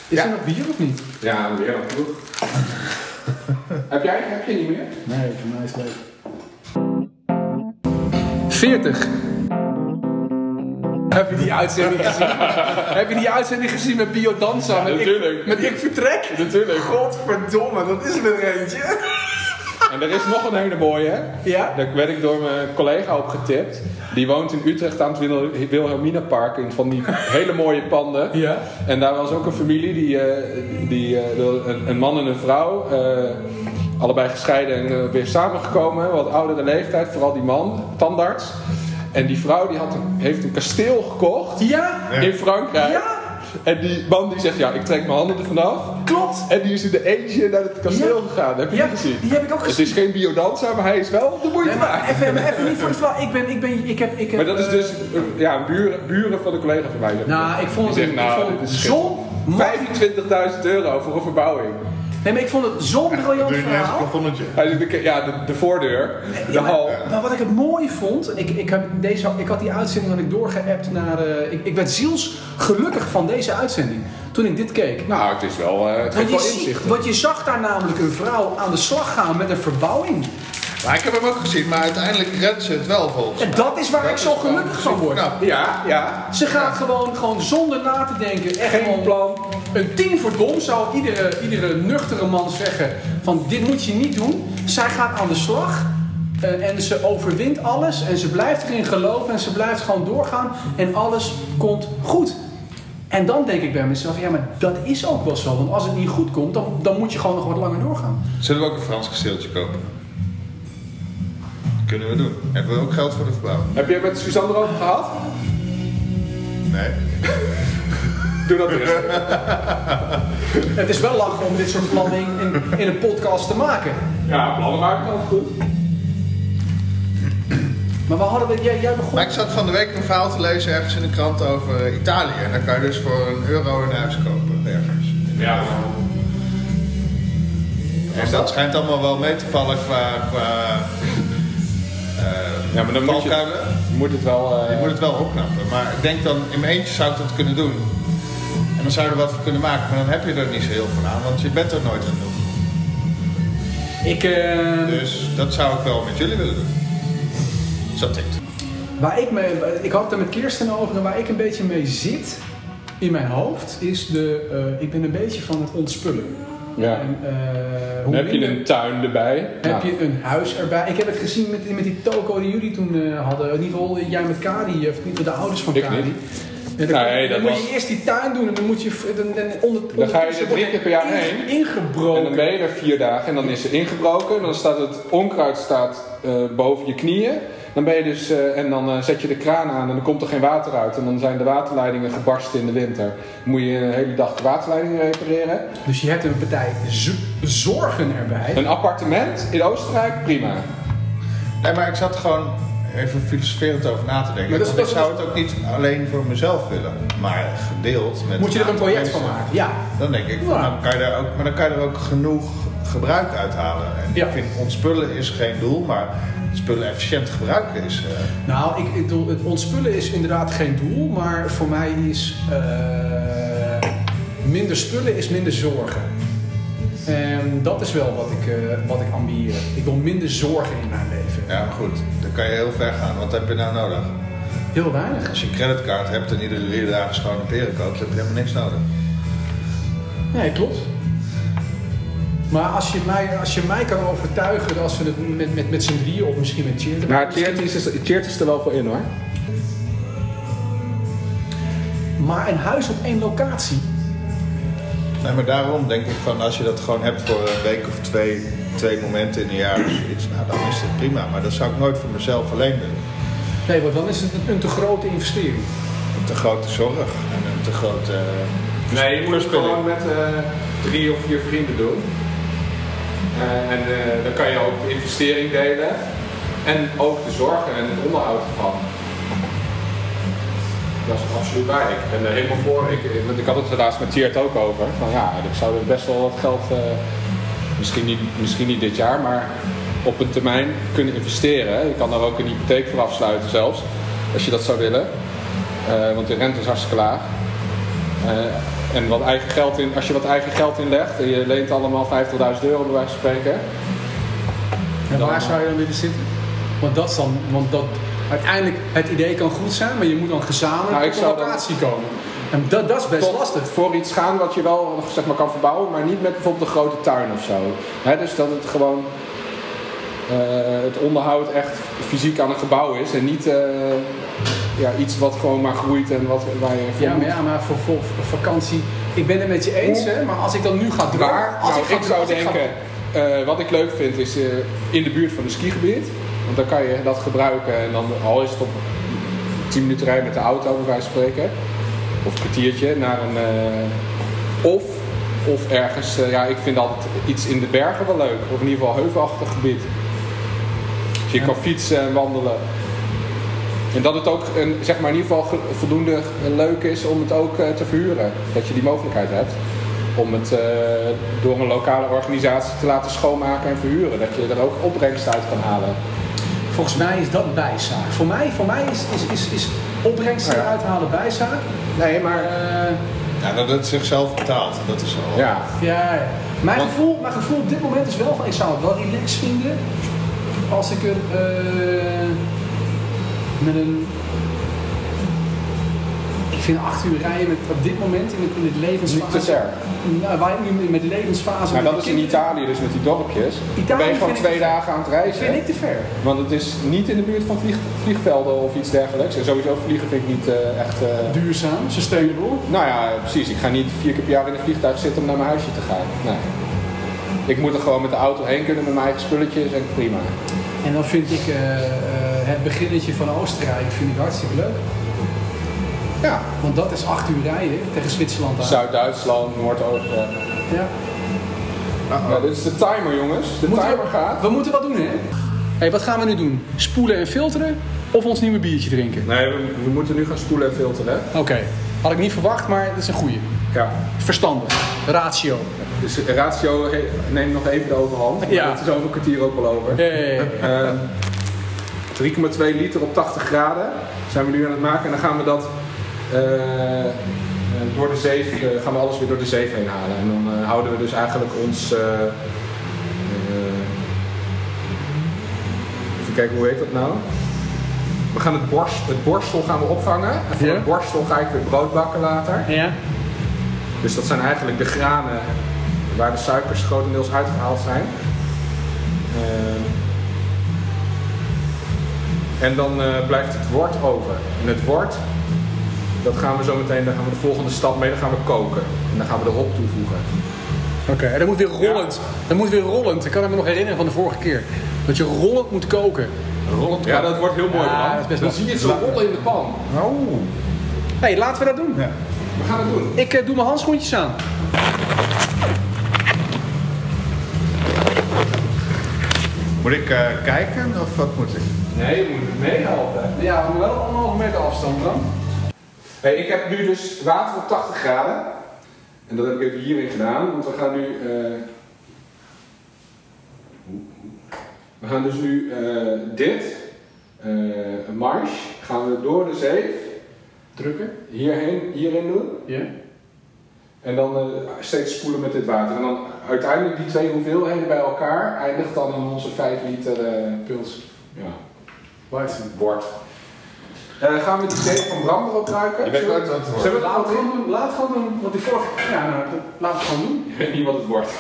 Speaker 1: Is
Speaker 2: Ja.
Speaker 1: er nog bier of niet?
Speaker 5: Ja, weer een ploeg. heb jij? Heb je niet meer?
Speaker 1: Nee, voor mij is leuk. 40. Heb je die uitzending gezien? Heb je die uitzending gezien met Biodanza? met Ik,
Speaker 2: natuurlijk.
Speaker 1: met ik vertrek?
Speaker 2: Natuurlijk.
Speaker 1: Godverdomme, dat is er weer eentje.
Speaker 2: En er is nog een hele mooie, hè?
Speaker 1: Ja?
Speaker 2: Daar werd ik door mijn collega op getipt. Die woont in Utrecht aan het Wil- Wilhelminapark. In van die hele mooie panden.
Speaker 1: Ja.
Speaker 2: En daar was ook een familie, die, eh, die, eh, wil- een, een man en een vrouw. eh, allebei gescheiden en eh, weer samengekomen. Wat oudere leeftijd, vooral die man, tandarts. En die vrouw die had een- heeft een kasteel gekocht
Speaker 1: Ja?
Speaker 2: in Frankrijk.
Speaker 1: Ja?
Speaker 2: En die man die zegt, ja, ik trek mijn handen er vanaf.
Speaker 1: Klopt.
Speaker 2: En die is in de eentje naar het kasteel
Speaker 1: Ja.
Speaker 2: gegaan. Heb je
Speaker 1: Ja,
Speaker 2: die gezien?
Speaker 1: die heb ik ook
Speaker 2: Het
Speaker 1: gezien.
Speaker 2: is geen biodanza, maar hij is wel de moeite
Speaker 1: Nee, maar
Speaker 2: waard.
Speaker 1: even, maar even niet voor het verhaal. Ik ben, ik ben, ik heb, ik heb...
Speaker 2: Maar dat is
Speaker 1: eh,
Speaker 2: dus eh, ja, buren, buren van de collega van mij. zeg maar.
Speaker 1: Nou, ik vond het,
Speaker 2: Die zegt,
Speaker 1: ik
Speaker 2: nou,
Speaker 1: vond
Speaker 2: dit
Speaker 1: het
Speaker 2: is
Speaker 1: zo'n... mooi-
Speaker 2: 25.000 euro voor een verbouwing.
Speaker 1: Nee, maar ik vond het zo'n briljant
Speaker 4: Doe je niet eens een
Speaker 1: verhaal.
Speaker 4: plafonnetje?
Speaker 2: Hij zegt, de- ja, de, de voordeur, de
Speaker 1: Ja, maar-
Speaker 2: hal.
Speaker 1: Maar wat ik het mooie vond, ik, ik, heb deze, ik had die uitzending had ik doorgeappt naar. eh, ik, ik werd zielsgelukkig van deze uitzending toen ik dit keek.
Speaker 2: Nou, het is wel, eh
Speaker 1: Want
Speaker 2: het geeft
Speaker 1: je,
Speaker 2: wel
Speaker 1: zie-
Speaker 2: inzicht.
Speaker 1: want je zag daar namelijk een vrouw aan de slag gaan met een verbouwing.
Speaker 4: Maar ik heb hem ook gezien, maar uiteindelijk redt ze het wel volgens
Speaker 1: En
Speaker 4: mij.
Speaker 1: dat is waar
Speaker 4: Dat
Speaker 1: ik zo
Speaker 4: is wel-
Speaker 1: gelukkig van word.
Speaker 4: Nou,
Speaker 2: Ja, ja.
Speaker 1: Ze gaat gewoon, gewoon zonder na te denken, echt
Speaker 2: Geen
Speaker 1: gewoon
Speaker 2: plan.
Speaker 1: Een tien voor dom zou iedere, iedere nuchtere man zeggen: van dit moet je niet doen. Zij gaat aan de slag. eh, en ze overwint alles. En ze blijft erin geloven. En ze blijft gewoon doorgaan. En alles komt goed. En dan denk ik bij mezelf: ja, maar dat is ook wel zo. Want als het niet goed komt, dan, dan moet je gewoon nog wat langer doorgaan.
Speaker 4: Zullen we ook een Frans kasteeltje kopen? Kunnen we doen. Hebben we ook geld voor de verbouwing?
Speaker 2: Heb je het met Suzanne erover gehad?
Speaker 4: Nee.
Speaker 2: Doe dat eerst.
Speaker 1: Het is wel lachen om dit soort planning in, in een podcast te maken.
Speaker 2: Ja, plannen maken dan goed.
Speaker 1: Maar we hadden het, jij, jij begon.
Speaker 4: Maar ik zat van de week een verhaal te lezen ergens in de krant over eh, Italië. En dan kan je dus voor een euro een huis kopen ergens.
Speaker 2: Ja.
Speaker 4: En Dus dat schijnt allemaal wel mee te vallen qua... qua eh,
Speaker 2: Ja, maar dan moet je,
Speaker 4: valkuilen.
Speaker 2: je moet het wel... eh,
Speaker 4: Je moet het wel opknappen. Maar ik denk dan, in mijn eentje zou ik dat kunnen doen. En dan zou je er wat voor kunnen maken. Maar dan heb je er niet zo heel veel aan, want je bent er nooit genoeg.
Speaker 1: Ik, eh,
Speaker 4: Dus dat zou ik wel met jullie willen doen. Zat ik.
Speaker 1: Waar ik, me, ik had het er met Kirsten over en waar ik een beetje mee zit in mijn hoofd is de. eh, ik ben een beetje van het ontspullen.
Speaker 2: Ja.
Speaker 1: En, eh, hoe
Speaker 2: Dan heb je
Speaker 1: minder-
Speaker 2: een tuin erbij.
Speaker 1: heb
Speaker 2: Ja.
Speaker 1: je een huis erbij? Ik heb het gezien met, die- met die toko die jullie toen eh, hadden. In ieder geval eh, jij met Kari, of niet met de ouders van
Speaker 2: Ik
Speaker 1: Kari.
Speaker 2: niet.
Speaker 1: En dan dan
Speaker 2: Nee, dat
Speaker 1: moet
Speaker 2: was-
Speaker 1: je eerst die tuin doen en dan moet je v- dan, dan, onder,
Speaker 2: Dan ga je
Speaker 1: ondertussen
Speaker 2: er drie keer per jaar
Speaker 1: wordt er
Speaker 2: heen.
Speaker 1: Ingebroken.
Speaker 2: En dan ben je er vier dagen en dan is ze ingebroken. Dan staat het onkruid staat, eh, boven je knieën. Dan ben je dus, eh, en dan eh, zet je de kraan aan en dan komt er geen water uit. En dan zijn de waterleidingen gebarsten in de winter. Dan moet je een hele dag de waterleidingen repareren.
Speaker 1: Dus je hebt een partij z- zorgen erbij.
Speaker 2: Een appartement in Oostenrijk, prima.
Speaker 4: Nee, maar ik zat gewoon even filosoferend over na te denken.
Speaker 1: Maar dat is-
Speaker 4: Want ik
Speaker 1: dat is-
Speaker 4: zou het ook niet alleen voor mezelf willen. Maar gedeeld met...
Speaker 1: Moet je er een
Speaker 4: aantal
Speaker 1: project van
Speaker 4: mensen,
Speaker 1: maken? Ja.
Speaker 4: Dan denk ik, van,
Speaker 1: Ja.
Speaker 4: nou, kan je daar ook, maar dan kan je er ook genoeg gebruik uit halen. En
Speaker 1: Ja.
Speaker 4: ik vind ontspullen is geen doel, maar spullen efficiënt gebruiken is... eh,
Speaker 1: Nou, ik, ik bedoel, het ontspullen is inderdaad geen doel, maar voor mij is eh, minder spullen is minder zorgen. En dat is wel wat ik, eh, wat ik ambieer. Ik wil minder zorgen in mijn leven.
Speaker 4: ja, maar goed. Dan kan je heel ver gaan. Wat heb je nou nodig?
Speaker 1: Ja, Heel weinig.
Speaker 4: Als je een creditcard hebt en iedere drie dagen schone peren koopt, heb je helemaal niks nodig.
Speaker 1: Nee, klopt. Maar als je mij, als je mij kan overtuigen dat als we het met, met, met z'n drieën of misschien met Cheert...
Speaker 2: Maar Cheert is, Tjeerd is er wel voor in hoor.
Speaker 1: Maar een huis op één locatie.
Speaker 4: Nee, maar daarom denk ik van als je dat gewoon hebt voor een week of twee, twee momenten in een jaar of zoiets, nou dan is het prima. Maar dat zou ik nooit voor mezelf alleen doen.
Speaker 1: Nee, want dan is het een, een te grote investering.
Speaker 4: Een te grote zorg en een te grote. eh,
Speaker 2: Nee, Dus je moet het
Speaker 4: verspilling.
Speaker 2: gewoon met eh, drie of vier vrienden doen. Eh, en eh, dan kan je ook de investering delen. En ook de zorgen en het onderhoud ervan. Dat is absoluut waar. Ik ben er helemaal voor. Ik, ik- want ik had het er laatst met Tiert ook over. Van ja, ik zou er best wel wat geld, eh, misschien, niet, misschien niet dit jaar, maar op een termijn kunnen investeren. Je kan daar ook een hypotheek voor afsluiten zelfs. Als je dat zou willen. Eh, want de rente is hartstikke laag. Eh, en wat eigen geld in, als je wat eigen geld inlegt en je leent allemaal 50.000 euro bij wijze van spreken.
Speaker 1: En
Speaker 2: Dan-
Speaker 1: waar zou je dan willen zitten? Want dat is dan, want dat, uiteindelijk, het idee kan goed zijn, maar je moet dan gezamenlijk
Speaker 2: Nou, ik
Speaker 1: op een
Speaker 2: zou dan-
Speaker 1: locatie komen. En dat, dat is best
Speaker 2: Tot
Speaker 1: lastig.
Speaker 2: Voor iets gaan wat je wel nog, zeg maar, kan verbouwen, maar niet met bijvoorbeeld een grote tuin of zo. Hè, dus dat het gewoon eh, het onderhoud echt fysiek aan een gebouw is en niet eh, ja, iets wat gewoon maar groeit en wat, waar je voor
Speaker 1: Ja, maar,
Speaker 2: moet.
Speaker 1: ja, maar voor, voor vakantie. Ik ben het met je eens, hè, maar als ik dan nu ga dromen.
Speaker 2: Maar
Speaker 1: als
Speaker 2: nou,
Speaker 1: ga-
Speaker 2: ik, zou
Speaker 1: als ga-
Speaker 2: denken, eh, wat ik leuk vind is eh, in de buurt van een skigebied. Want dan kan je dat gebruiken en dan al is het op 10 minuten rijden met de auto bij wijze van spreken. Of een kwartiertje naar een... eh, of, of ergens, eh, ja ik vind altijd iets in de bergen wel leuk. Of in ieder geval heuvelachtig gebied. Dus je kan fietsen en wandelen. En dat het ook een, zeg maar in ieder geval ge- voldoende eh, leuk is om het ook eh, te verhuren. Dat je die mogelijkheid hebt. Om het eh, door een lokale organisatie te laten schoonmaken en verhuren. Dat je er ook opbrengst uit kan halen.
Speaker 1: Volgens mij is dat bijzaak. Voor mij, voor mij is, is, is, is opbrengsten
Speaker 2: Ja.
Speaker 1: eruit halen bijzaak.
Speaker 2: Nee, maar...
Speaker 1: Eh,
Speaker 4: Ja, dat het zichzelf betaalt, dat is al.
Speaker 2: Ja.
Speaker 1: Ja, ja. mijn
Speaker 4: Want-
Speaker 1: gevoel, mijn gevoel op dit moment is wel van ik zou het wel relaxed vinden als ik er eh, met een. Ik vind acht uur rijden met, op dit moment in het, in het levensfase.
Speaker 2: Niet te ver.
Speaker 1: Nou, waar ik nu met de levensfase.
Speaker 2: Maar
Speaker 1: met
Speaker 2: dat is
Speaker 1: de
Speaker 2: in
Speaker 1: kinderen-
Speaker 2: Italië dus met die dorpjes.
Speaker 1: Italië
Speaker 2: Dan ben je gewoon
Speaker 1: vind ik-
Speaker 2: twee dagen aan het reizen.
Speaker 1: Vind ik te ver.
Speaker 2: Want het is niet in de buurt van vlieg- vliegvelden of iets dergelijks. En sowieso vliegen vind ik niet eh, echt... eh,
Speaker 1: Duurzaam, sustainable.
Speaker 2: Nou ja, precies. Ik ga niet vier keer per jaar in een vliegtuig zitten om naar mijn huisje te gaan. Nee. Ik moet er gewoon met de auto heen kunnen met mijn eigen spulletjes en prima.
Speaker 1: En dan vind ik eh, eh, het beginnetje van Oostenrijk vind ik hartstikke leuk.
Speaker 2: Ja.
Speaker 1: Want dat is acht uur rijden tegen Zwitserland aan.
Speaker 2: Zuid-Duitsland, Noordoost. eh.
Speaker 1: Ja.
Speaker 2: Ja, dit is de timer, jongens. De
Speaker 1: Moeten
Speaker 2: timer
Speaker 1: we,
Speaker 2: gaat.
Speaker 1: we moeten wat doen, hè? hey, wat gaan we nu doen? Spoelen en filteren of ons nieuwe biertje drinken?
Speaker 2: Nee, we, we moeten nu gaan spoelen en filteren.
Speaker 1: Oké, had ik niet verwacht, maar dat is een goeie.
Speaker 2: Ja.
Speaker 1: Verstandig, ratio.
Speaker 2: Dus de ratio he- neemt nog even de overhand. maar
Speaker 1: Ja.
Speaker 2: Dat is over een kwartier ook al over.
Speaker 1: Hey.
Speaker 2: Ehm, 3,2 liter op 80 graden zijn we nu aan het maken. En dan gaan we dat eh, eh, door de zeef, eh, gaan we alles weer door de zeef heen halen. En dan eh, houden we dus eigenlijk ons. eh, eh, even kijken, hoe heet dat nou? We gaan het, borst, het borstel gaan we opvangen. En van
Speaker 1: Ja.
Speaker 2: het borstel ga ik weer brood bakken later.
Speaker 1: Ja.
Speaker 2: Dus dat zijn eigenlijk de granen waar de suikers grotendeels uitgehaald zijn. Eh, en dan eh, blijft het wort over. En het wort, dat gaan we zo meteen, daar gaan we de volgende stap mee, dan gaan we koken. En dan gaan we de hop toevoegen.
Speaker 1: Oké, en dat moet weer rollend. Dat moet weer rollend. Ik kan het me nog herinneren van de vorige keer. Dat je rollend moet koken.
Speaker 4: Rollend
Speaker 2: Ja, dat wordt heel mooi.
Speaker 1: Ja,
Speaker 2: man.
Speaker 1: dat is best
Speaker 2: dan
Speaker 1: wel-
Speaker 2: zie je het zo rollen in de pan.
Speaker 4: Oh.
Speaker 1: Hé, hey, laten we dat doen.
Speaker 4: Ja.
Speaker 2: We gaan het doen.
Speaker 1: Ik eh, doe mijn handschoentjes aan.
Speaker 4: Moet ik eh, kijken of wat moet ik?
Speaker 2: Nee, je moet het meehelpen.
Speaker 1: Ja, maar wel anderhalve meter afstand dan.
Speaker 2: Hey, ik heb nu dus water op 80 graden. En dat heb ik even hierin gedaan, want we gaan nu. eh, We gaan dus nu eh, dit, eh, een marge, gaan we door de zeef
Speaker 1: Drukken.
Speaker 2: hierheen, hierin doen.
Speaker 1: Ja.
Speaker 2: En dan eh, steeds spoelen met dit water. En dan uiteindelijk die twee hoeveelheden bij elkaar eindigt dan in onze 5 liter eh, pils. Ja,
Speaker 1: Waar is het?
Speaker 2: bord. Eh, gaan we het idee van Bram erop ruiken?
Speaker 4: Je bent
Speaker 2: Zullen we-
Speaker 4: nooit aan het woord.
Speaker 2: Zullen we het
Speaker 1: Laat het
Speaker 2: gewoon
Speaker 1: gewoon doen, laat het gewoon doen. Want die vorige, ja, nou, dat- laat het gewoon doen.
Speaker 2: Ik weet niet wat het wordt.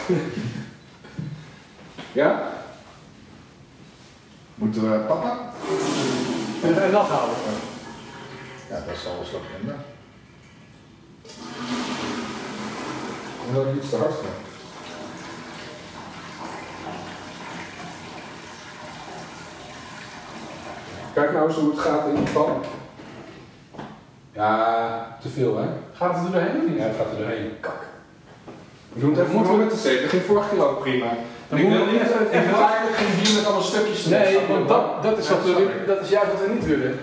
Speaker 2: ja?
Speaker 4: Moeten we papa?
Speaker 1: En, en dat houden.
Speaker 4: Ja, dat zal wel zo kunnen.
Speaker 5: Dat is iets te hard gaan.
Speaker 2: Kijk nou eens hoe het gaat in ieder geval. Ja, te veel hè?
Speaker 1: Gaat het er doorheen of niet?
Speaker 2: Ja, het gaat er doorheen.
Speaker 1: Kak.
Speaker 2: We doen het even moeten we met de zeven. Dat ging vorig jaar ook prima.
Speaker 1: Dan
Speaker 2: ik
Speaker 1: moeten
Speaker 2: wil
Speaker 1: we
Speaker 2: niet
Speaker 1: even-
Speaker 2: even,
Speaker 1: even-
Speaker 2: even eigenlijk geen bier met allemaal stukjes erin.
Speaker 1: Nee,
Speaker 2: Snap je
Speaker 1: want
Speaker 2: wel?
Speaker 1: dat, dat, is wat we, dat is juist wat we niet willen.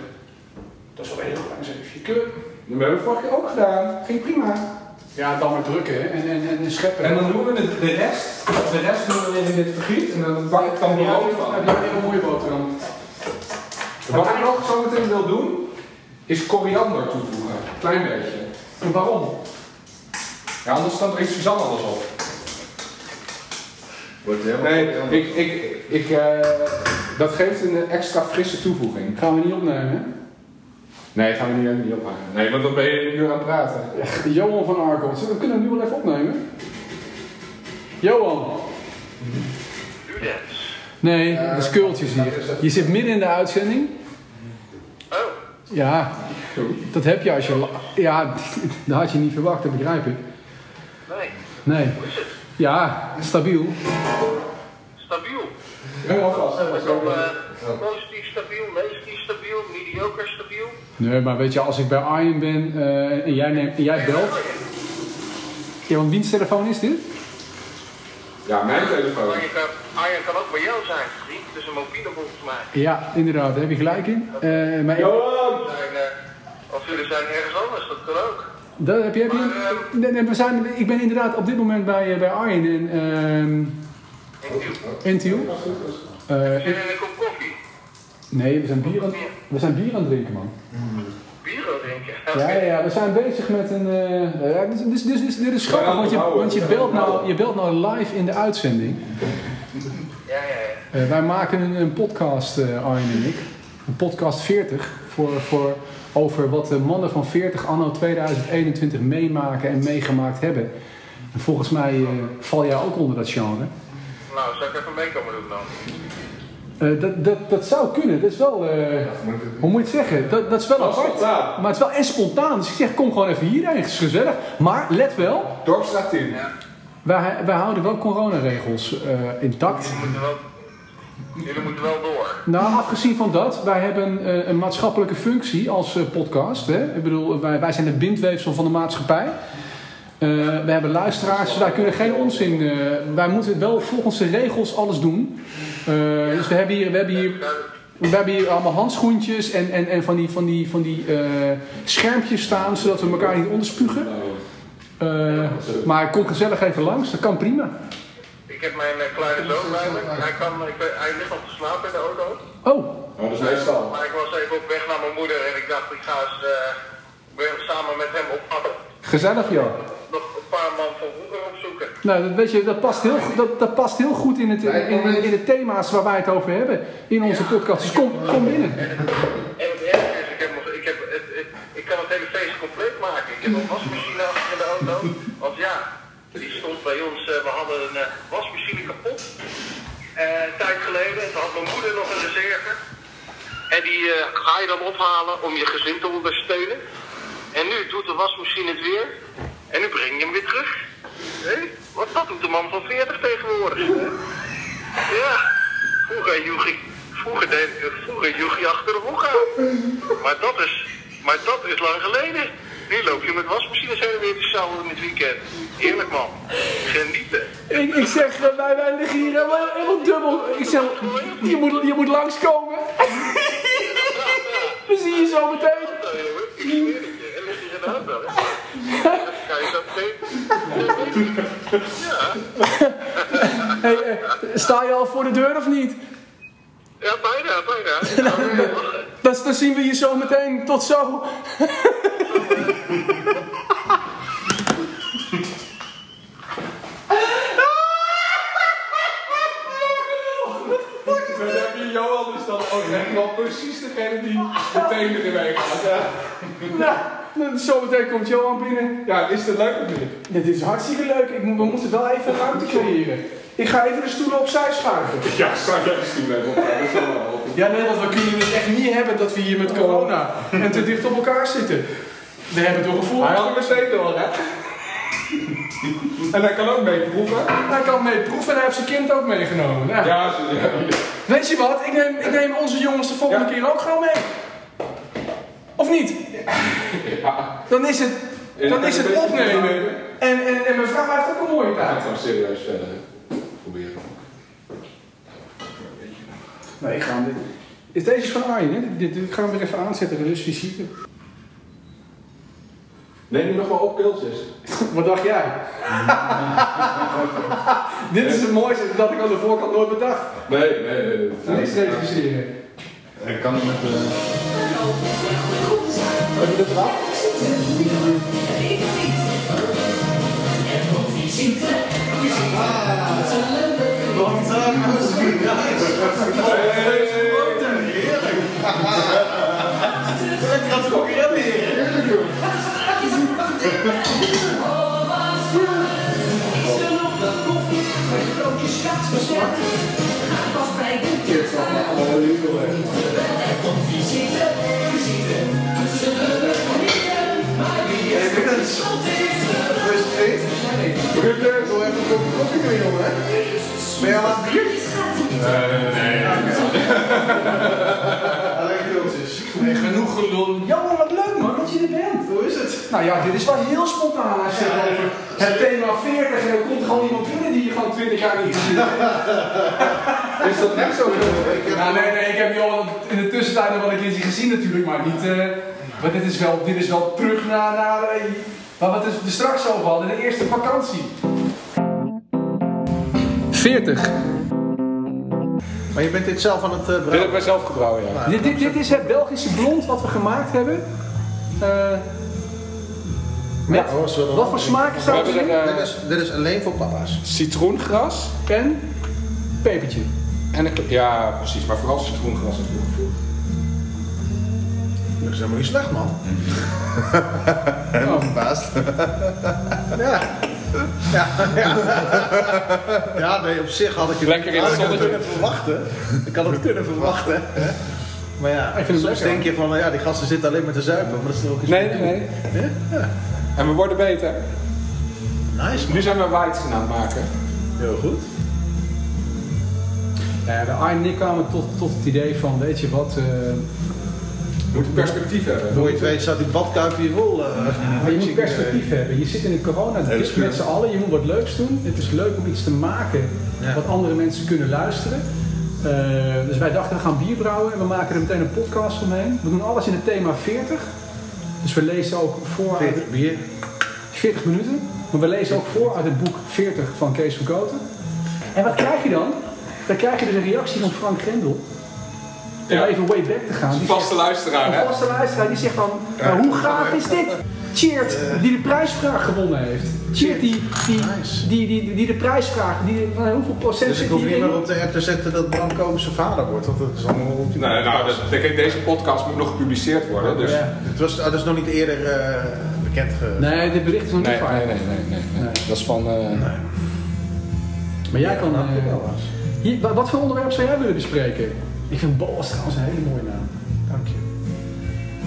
Speaker 1: Dat is wel heel langzaam. Je kunt-
Speaker 2: Dat hebben we vorig jaar ook gedaan. Ging prima.
Speaker 1: Ja, dan maar drukken en, en, en scheppen.
Speaker 2: En dan doen we de, de rest. De rest doen we weer in dit vergiet. En dan bak ik dan
Speaker 1: Ja,
Speaker 2: brood
Speaker 1: dan
Speaker 2: van.
Speaker 1: heb je ook een mooie boterham.
Speaker 2: Wat ik nog zo meteen wil doen, is koriander toevoegen. Klein beetje.
Speaker 1: En waarom?
Speaker 2: Ja, anders staat er Suzanne alles op.
Speaker 4: Wordt helemaal
Speaker 2: Nee,
Speaker 4: helemaal-
Speaker 2: ik, ik, ik, eh, dat geeft een extra frisse toevoeging.
Speaker 1: Gaan we niet opnemen,
Speaker 2: Nee, gaan we nu niet ophangen. Nee, want dan ben je een uur aan het praten.
Speaker 1: hè? Johan van Arkel. Zullen we kunnen hem nu wel even opnemen? Johan. Nee, dat is kultjes hier. Je zit midden in de uitzending.
Speaker 6: Oh,
Speaker 1: Ja, dat heb je als je... la- Ja, dat had je niet verwacht, dat begrijp ik.
Speaker 6: Nee,
Speaker 1: Nee. Ja, stabiel.
Speaker 6: stabiel.
Speaker 2: Helemaal vast.
Speaker 6: Dat is al, eh, positief stabiel, negatief stabiel, mediocre stabiel.
Speaker 1: Nee, maar weet je, als ik bij Arjen ben eh, en, jij neemt, en jij belt...
Speaker 6: Oh,
Speaker 1: Ja, want wiens telefoon is dit?
Speaker 2: Ja, mijn telefoon.
Speaker 6: Maar je kan, Arjan kan ook bij jou zijn, vriend. Het is een mobiele volgens mij.
Speaker 1: Ja, inderdaad, daar heb je gelijk in. Eh, maar
Speaker 2: Johan!
Speaker 6: Zijn, eh, of jullie zijn ergens anders, dat kan ook.
Speaker 1: dat heb je, heb je-
Speaker 6: Maar, eh,
Speaker 1: nee, nee, we zijn, ik ben inderdaad op dit moment bij, eh, bij Arjen en ehm
Speaker 6: Ik doe.
Speaker 1: NTU. Eh, ik-
Speaker 6: En een kop koffie.
Speaker 1: nee, we zijn, bier aan, we zijn bier aan het drinken, man.
Speaker 6: Bier ook drinken.
Speaker 1: Ja, ja, ja, we zijn bezig met een... eh, ja, dit, is- dit, is- dit, is- dit is grappig, want, je, want je, belt nou, je belt nou live in de uitzending.
Speaker 6: Ja, ja, ja.
Speaker 1: Eh, wij maken een, een podcast, eh, Arjen en ik. Een podcast 40 voor, voor, over wat de mannen van 40 anno 2021 meemaken en meegemaakt hebben. En volgens mij eh, val jij ook onder dat genre.
Speaker 6: Nou, zou ik even mee komen doen dan?
Speaker 1: Eh, dat, dat, dat zou kunnen. Dat is wel. eh, hoe moet je het zeggen? Dat, dat is wel
Speaker 2: Dat is
Speaker 1: apart.
Speaker 2: spontaan.
Speaker 1: Maar het is wel en spontaan. Dus ik zeg, kom gewoon even hierheen. Het is gezellig. Maar let wel,
Speaker 2: Dorpstraat 10.
Speaker 1: wij, wij houden wel coronaregels eh, intact.
Speaker 6: Jullie moeten wel, jullie moeten wel door.
Speaker 1: Nou, afgezien van dat, wij hebben eh, een maatschappelijke functie als eh, podcast. Hè? Ik bedoel, wij, wij zijn het bindweefsel van de maatschappij. Eh we hebben luisteraars, dus wij kunnen geen onzin. eh, wij moeten wel volgens de regels alles doen. Eh, dus we hebben hier, we hebben hier,
Speaker 6: eh,
Speaker 1: we hebben hier allemaal handschoentjes en, en, en van die, van die, van die eh, schermpjes staan, zodat we elkaar niet onderspugen.
Speaker 2: Oh,
Speaker 1: Eh, maar kom gezellig even langs, dat kan prima.
Speaker 6: Ik heb mijn eh, kleine zoon bij me. Hij, kan, ik, weet- hij ligt al te slapen in de auto.
Speaker 1: Oh,
Speaker 2: Oh, dat is meestal.
Speaker 6: Maar ik was even op weg naar mijn moeder en ik dacht, ik ga eens eh, weer samen met hem op pad
Speaker 1: gezellig joh.
Speaker 6: nog een paar man van vroeger opzoeken.
Speaker 1: Nou, dat, weet je, dat, past heel, dat, dat past heel goed in, het, in, in, in de thema's waar wij het over hebben in onze podcast. Dus kom, kom binnen.
Speaker 6: En het ergste is, ik, heb, nog- ik, heb, het, het- ik kan het hele feest compleet maken. Ik heb een wasmachine achter in de auto. Want ja, die stond bij ons. eh, we hadden een eh, wasmachine kapot. eh, een tijd geleden. Toen had mijn moeder nog een reserve. En die eh, ga je dan ophalen om je gezin te ondersteunen. En nu doet de wasmachine het weer. En nu breng je hem weer terug. Hé, Wat dat doet de man van 40 tegenwoordig. hè? Ja, vroeger joeg ik, vroeger deed, vroeger joeg je achter de hoek aan. Maar dat is, maar dat is lang geleden. Nu loop je met wasmachines heen en weer te sjouwen in het weekend. Heerlijk man, genieten.
Speaker 1: Ik, ik zeg, eh, wij, wij liggen hier helemaal, helemaal dubbel. Ik zeg, je moet, je moet langskomen. We zien je zo meteen.
Speaker 6: Nou, jongen, ik zweer het je. En ligt hier in de auto, hè? Dat kan je zo meteen.
Speaker 1: Hey, eh, sta je al voor de deur of niet?
Speaker 6: Ja, bijna, bijna. Nou, eh,
Speaker 1: Dan, dan zien we je zo meteen. Tot zo.
Speaker 2: We hebben je Johan is dan ook echt wel precies degene die meteen erin mee gaat. Ja. Nou, dan zometeen komt Johan binnen. Ja, is het leuk of niet?
Speaker 7: Dit is hartstikke leuk. Ik moet, we moeten wel even ruimte creëren. Ik ga even de stoelen opzij schuiven.
Speaker 2: Ja, sta jij misschien wel op. Dat is wel wel op.
Speaker 7: Ja, nee, want we kunnen het echt niet hebben dat we hier met corona en te dicht op elkaar zitten. We hebben toch gevoel.
Speaker 2: Hij had er meteen door, hè? En hij kan ook meeproeven.
Speaker 7: Hij kan mee proeven en hij heeft zijn kind ook meegenomen. Nou,
Speaker 2: Ja, ze- ja, ja.
Speaker 7: Weet je wat? Ik neem, ik neem onze jongens de volgende
Speaker 2: Ja.
Speaker 7: keer ook gewoon mee. Of niet? Dan is het,
Speaker 2: En
Speaker 7: dan
Speaker 2: dan
Speaker 7: is
Speaker 2: een
Speaker 7: het
Speaker 2: beetje
Speaker 7: opnemen.
Speaker 2: gebruiken.
Speaker 7: En, en, en mijn vrouw heeft ook een mooie
Speaker 2: Ik ga
Speaker 7: kaart.
Speaker 2: het gewoon serieus verder proberen.
Speaker 7: Nee, ik ga hem Is deze van Arjen, hè? Dit, dit gaan we weer even aanzetten, dus visite.
Speaker 2: Neem je nog wel op pilsjes?
Speaker 7: Wat dacht jij? Dit is het mooiste dat ik aan de voorkant nooit bedacht.
Speaker 2: Nee, nee, nee. nee.
Speaker 7: Niks rectificeren.
Speaker 4: Ik kan het met de...
Speaker 7: Nee, genoeg gelul. Jammer, wat leuk man dat je er bent. Hoe is het? Nou ja, dit is wel heel spontaan als je het over het thema 40 en er komt gewoon iemand binnen die je gewoon 20 jaar niet gezien hebt.
Speaker 2: Is dat net zo?
Speaker 7: Nou nee, nee, ik heb Johan in de tussentijd nog wel een keertje gezien natuurlijk, maar niet... eh, maar dit is, wel, dit is wel terug naar, naar eh, maar wat we er straks over hadden, de eerste vakantie.
Speaker 1: 40.
Speaker 8: Maar je bent dit zelf aan het eh,
Speaker 2: Dit
Speaker 8: brouwen.
Speaker 2: heb ik zelf gebrouwen, ja.
Speaker 1: Dit, dit, dit is het Belgische blond wat we gemaakt hebben. Eh, met,
Speaker 8: Oh, is wel een-
Speaker 1: wat voor smaak is
Speaker 2: We
Speaker 1: dat?
Speaker 2: hebben er
Speaker 8: Dit
Speaker 2: eh,
Speaker 8: is, dit is alleen voor papa's.
Speaker 2: citroengras
Speaker 1: En pepertje.
Speaker 2: en een... Ja, precies. Maar vooral citroengras natuurlijk.
Speaker 8: Dat is helemaal niet slecht, man. Helemaal verbaasd. ja. Ja, ja. ja, nee, op zich had ik het,
Speaker 2: Lekker in het
Speaker 8: had ik het
Speaker 2: zonnetje.
Speaker 8: kunnen verwachten. Ik had het kunnen verwachten. hè. Maar ja,
Speaker 1: vind het
Speaker 8: soms
Speaker 1: lekker,
Speaker 8: denk je van, nou ja, die gasten zitten alleen maar te zuipen. Maar dat is toch ook iets
Speaker 2: Nee,
Speaker 8: voor
Speaker 2: nee,
Speaker 8: doen.
Speaker 2: nee. En we worden beter.
Speaker 8: Nice, man.
Speaker 2: Nu zijn we Weizen aan het maken.
Speaker 8: Heel goed.
Speaker 1: Ja, Eh, de Arjen en ik kwamen tot, tot het idee van, weet je wat, eh,
Speaker 2: We moeten perspectief hebben.
Speaker 8: Voor je het weet staat die badkuip hier vol. eh,
Speaker 1: Maar je moet
Speaker 8: chicken, eh,
Speaker 1: perspectief hebben. Je zit in een corona
Speaker 4: dat
Speaker 1: dit
Speaker 4: is
Speaker 1: is
Speaker 4: goed.
Speaker 1: met z'n allen. Je moet wat leuks doen. Het is leuk om iets te maken
Speaker 8: Ja.
Speaker 1: wat andere mensen kunnen luisteren. Eh, dus wij dachten, we gaan bier brouwen en we maken er meteen een podcast omheen. We doen alles in het thema 40. Dus we lezen ook voor uit
Speaker 8: 40 bier.
Speaker 1: 40 minuten. Maar we lezen ook voor uit het boek 40 van Kees van Koten. En wat krijg je dan? Dan krijg je dus een reactie van Frank Grendel. Om
Speaker 2: Ja.
Speaker 1: even way back te gaan. Die
Speaker 2: Vaste luisteraar, hè?
Speaker 1: een vaste luisteraar die zegt van, maar hoe gaaf is dit? Cheert,
Speaker 8: Eh.
Speaker 1: die de prijsvraag gewonnen heeft. Cheert, die, die,
Speaker 8: Nice.
Speaker 1: die, die, die de prijsvraag, die, van hoeveel procent
Speaker 8: Dus ik
Speaker 1: zit
Speaker 8: hoef
Speaker 1: die
Speaker 8: niet
Speaker 1: in?
Speaker 8: meer op de app te zetten dat Branko zijn vader wordt. Want dat is allemaal op die
Speaker 2: Nee, nou, dat- kijk, deze podcast moet nog gepubliceerd worden, dus...
Speaker 8: Ja, het was, ah, dat is nog niet eerder eh, bekend ge...
Speaker 1: Nee, dit bericht is nog niet
Speaker 2: Nee,
Speaker 1: vaak.
Speaker 2: nee, nee, nee, nee, nee. Dat is van... eh,
Speaker 1: Maar jij kan...
Speaker 8: Nou,
Speaker 1: eh,
Speaker 8: wel eens.
Speaker 1: hier, wa- wat voor onderwerp zou jij willen bespreken? Ik vind Boas trouwens een hele mooie naam.
Speaker 8: Dank je.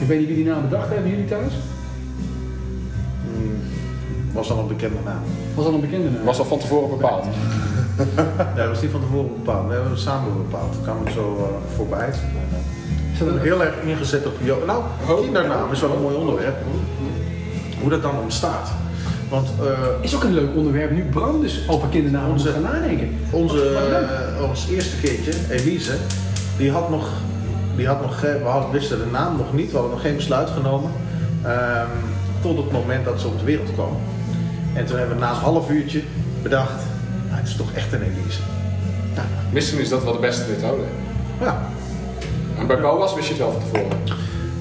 Speaker 1: Ik weet niet wie die naam bedacht hebben jullie thuis.
Speaker 8: Was al een bekende naam.
Speaker 1: Was al een bekende naam.
Speaker 2: Was al van tevoren bepaald.
Speaker 8: Nee, dat was niet van tevoren bepaald. Nee, we hebben het samen bepaald. Toen kwam ik zo eh, voorbij.
Speaker 1: Is dat
Speaker 8: Ik ben
Speaker 1: een-
Speaker 8: heel erg ingezet op Jo. Nou, kindernaam is wel een mooi onderwerp. Hoe dat dan ontstaat. Want eh,
Speaker 1: is ook een leuk onderwerp nu Bram dus over kindernamen moet
Speaker 8: Onze-
Speaker 1: gaan nadenken.
Speaker 8: Onze,
Speaker 1: Wat leuk.
Speaker 8: eh, ons eerste keertje, Elise, die had nog, die had nog geen- we hadden, wisten de naam nog niet, we hadden nog geen besluit genomen. ehm, tot het moment dat ze op de wereld kwam. En toen hebben we na een half uurtje bedacht, nou, het is toch echt een Elise.
Speaker 2: Misschien is dat wel de beste methode.
Speaker 8: Ja,
Speaker 2: En bij Boas wist je het wel van tevoren.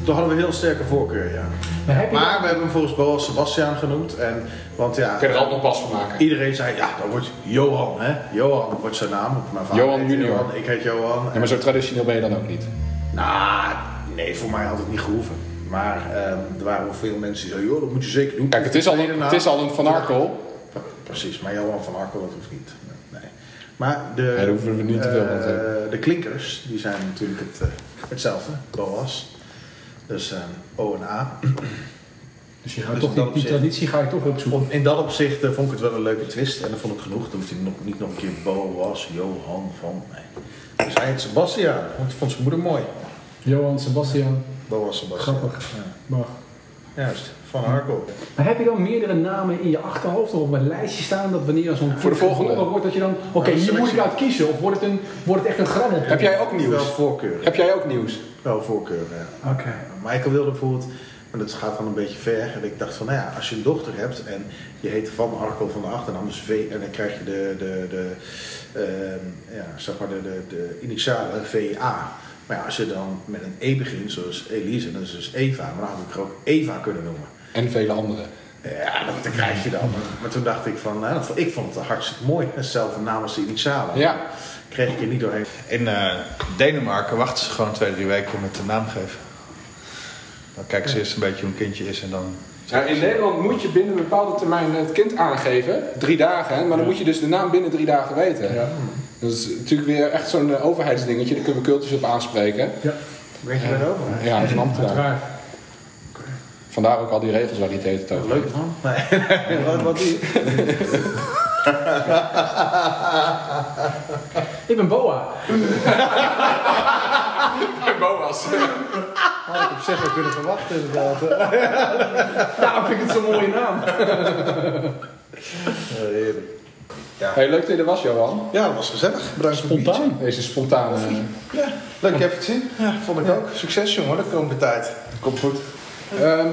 Speaker 8: toen hadden we een heel sterke voorkeur, ja.
Speaker 1: Maar heb je-
Speaker 8: Maar we hebben hem volgens Boas Sebastian genoemd. En, want ja,
Speaker 2: kan je er altijd nog pas van maken.
Speaker 8: iedereen zei, ja, dan wordt Johan, hè. Johan wordt zijn naam. Mijn vader
Speaker 2: Johan
Speaker 8: heet
Speaker 2: junior.
Speaker 8: Johan, ik heet Johan.
Speaker 2: Ja, maar zo traditioneel ben je dan ook niet.
Speaker 8: Nou, nee, voor mij had het niet gehoeven. Maar ehm, er waren wel veel mensen die zeiden, joh, dat moet je zeker doen.
Speaker 2: Kijk, het is al
Speaker 8: Tweede
Speaker 2: een,
Speaker 8: naam.
Speaker 2: het is al een Van Arkel.
Speaker 8: Pre- Precies, maar Johan van Arkel, dat hoeft niet. Nee. Maar de,
Speaker 2: Nee, daar hoeven we niet te veel
Speaker 8: eh,
Speaker 2: aan te
Speaker 8: de klinkers, die zijn natuurlijk het, eh, hetzelfde, BOAS. Dus eh, O en A.
Speaker 1: Dus je gaat
Speaker 8: Dus
Speaker 1: toch die,
Speaker 8: dat
Speaker 1: die
Speaker 8: opzicht-
Speaker 1: traditie ga je toch opzoeken.
Speaker 8: Om- In dat opzicht eh, vond ik het wel een leuke twist. En dat vond ik genoeg. Dan hoeft hij nog, niet nog een keer BOAS, Johan van... Nee. Dus hij heet Sebastian, want dat vond zijn moeder mooi.
Speaker 1: Johan, Sebastian,
Speaker 8: BOAS Sebastian.
Speaker 1: grappig.
Speaker 8: Ja.
Speaker 1: Mag.
Speaker 8: Juist, van Arkel.
Speaker 1: Maar heb je dan meerdere namen in je achterhoofd of op een lijstje staan dat wanneer zo'n
Speaker 2: Voor de volgende.
Speaker 1: geboren wordt dat je dan, oké,
Speaker 8: Nou,
Speaker 1: hier moet
Speaker 8: selectie.
Speaker 1: ik uit kiezen of wordt het, een, wordt het echt een grabbel?
Speaker 2: Heb jij ook
Speaker 8: Wel
Speaker 2: nieuws?
Speaker 8: voorkeur.
Speaker 2: Heb jij ook nieuws?
Speaker 8: Wel voorkeur, ja.
Speaker 1: Oké.
Speaker 8: Michael wilde bijvoorbeeld, maar dat gaat dan een beetje ver. En ik dacht van, nou ja, als je een dochter hebt en je heet Van Arkel van de Achternaam, dus V, en dan krijg je de, de, de, ehm, ja, zeg maar de, de, de initialen VA. Maar ja, als je dan met een E begint, zoals Elise, dan is het dus Eva. Maar dan had ik er ook Eva kunnen noemen.
Speaker 2: En vele anderen.
Speaker 8: Ja, dat, dat krijg je dan. Maar toen dacht ik van, nou, dat vond- ik vond het hartstikke mooi. Hetzelfde naam als de initialen.
Speaker 2: Ja.
Speaker 8: Kreeg ik er niet doorheen.
Speaker 4: In eh, Denemarken wachten ze gewoon twee, drie weken met de naam geven. Dan kijken ze eerst een beetje hoe een kindje is en dan...
Speaker 2: Ja, in Nederland moet je binnen een bepaalde termijn het kind aangeven. Drie dagen, hè? maar dan moet je dus de naam binnen drie dagen weten. Dat is natuurlijk weer echt zo'n eh, overheidsdingetje. Daar kunnen we cultus op aanspreken.
Speaker 1: Ja,
Speaker 8: Weet je dat ook?
Speaker 2: Ja, dat is een ambtenaar.
Speaker 1: uiteraard.
Speaker 2: Vandaar ook al die regels waar die het het over
Speaker 8: Leuk man. Nee, wat, wat die-
Speaker 1: Ik ben Boa.
Speaker 2: heeft. Boas.
Speaker 8: Had ik op zich wel kunnen verwachten inderdaad.
Speaker 1: Daarom vind ik het zo'n mooie naam.
Speaker 2: Hey, leuk dat je er was, Johan.
Speaker 8: Ja, dat was gezellig. Bedankt voor het biertje.
Speaker 1: Spontaan.
Speaker 2: Deze spontane...
Speaker 8: Ja, leuk je hebt het gezien. Ja, vond ik ook. Succes jongen, de komende tijd.
Speaker 2: Komt goed. Ehm,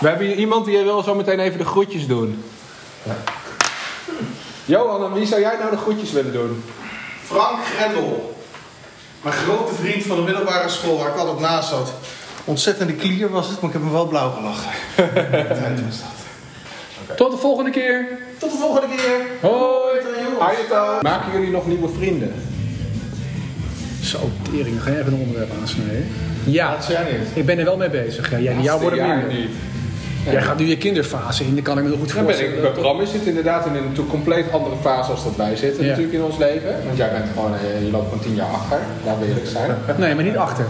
Speaker 2: we hebben hier iemand die wil zo meteen even de groetjes doen. Johan, aan wie zou jij nou de groetjes willen doen?
Speaker 8: Frank Grendel. Mijn grote vriend van de middelbare school waar ik altijd naast zat. Ontzettende klier was het, maar ik heb hem wel blauw gelachen. Tijd was dat.
Speaker 1: Tot de volgende keer.
Speaker 8: Tot de volgende keer.
Speaker 1: Hoi.
Speaker 2: Maken jullie nog nieuwe vrienden?
Speaker 1: Zo, tering. Ga jij even een onderwerp aansnijden? Ja,
Speaker 2: jij niet.
Speaker 1: ik ben er wel mee bezig. Ja, jij, jouw wordt er minder.
Speaker 2: niet.
Speaker 1: Jij gaat nu je kinderfase in, dan kan ik me nog goed
Speaker 2: Dan ben
Speaker 1: voorstellen.
Speaker 2: ik, bij Bram is het inderdaad in een natuurlijk compleet andere fase als dat wij zitten
Speaker 1: Ja.
Speaker 2: natuurlijk in ons leven. Want jij bent gewoon, eh, je loopt gewoon tien jaar achter, laten we eerlijk zijn.
Speaker 1: Nee, maar niet achter.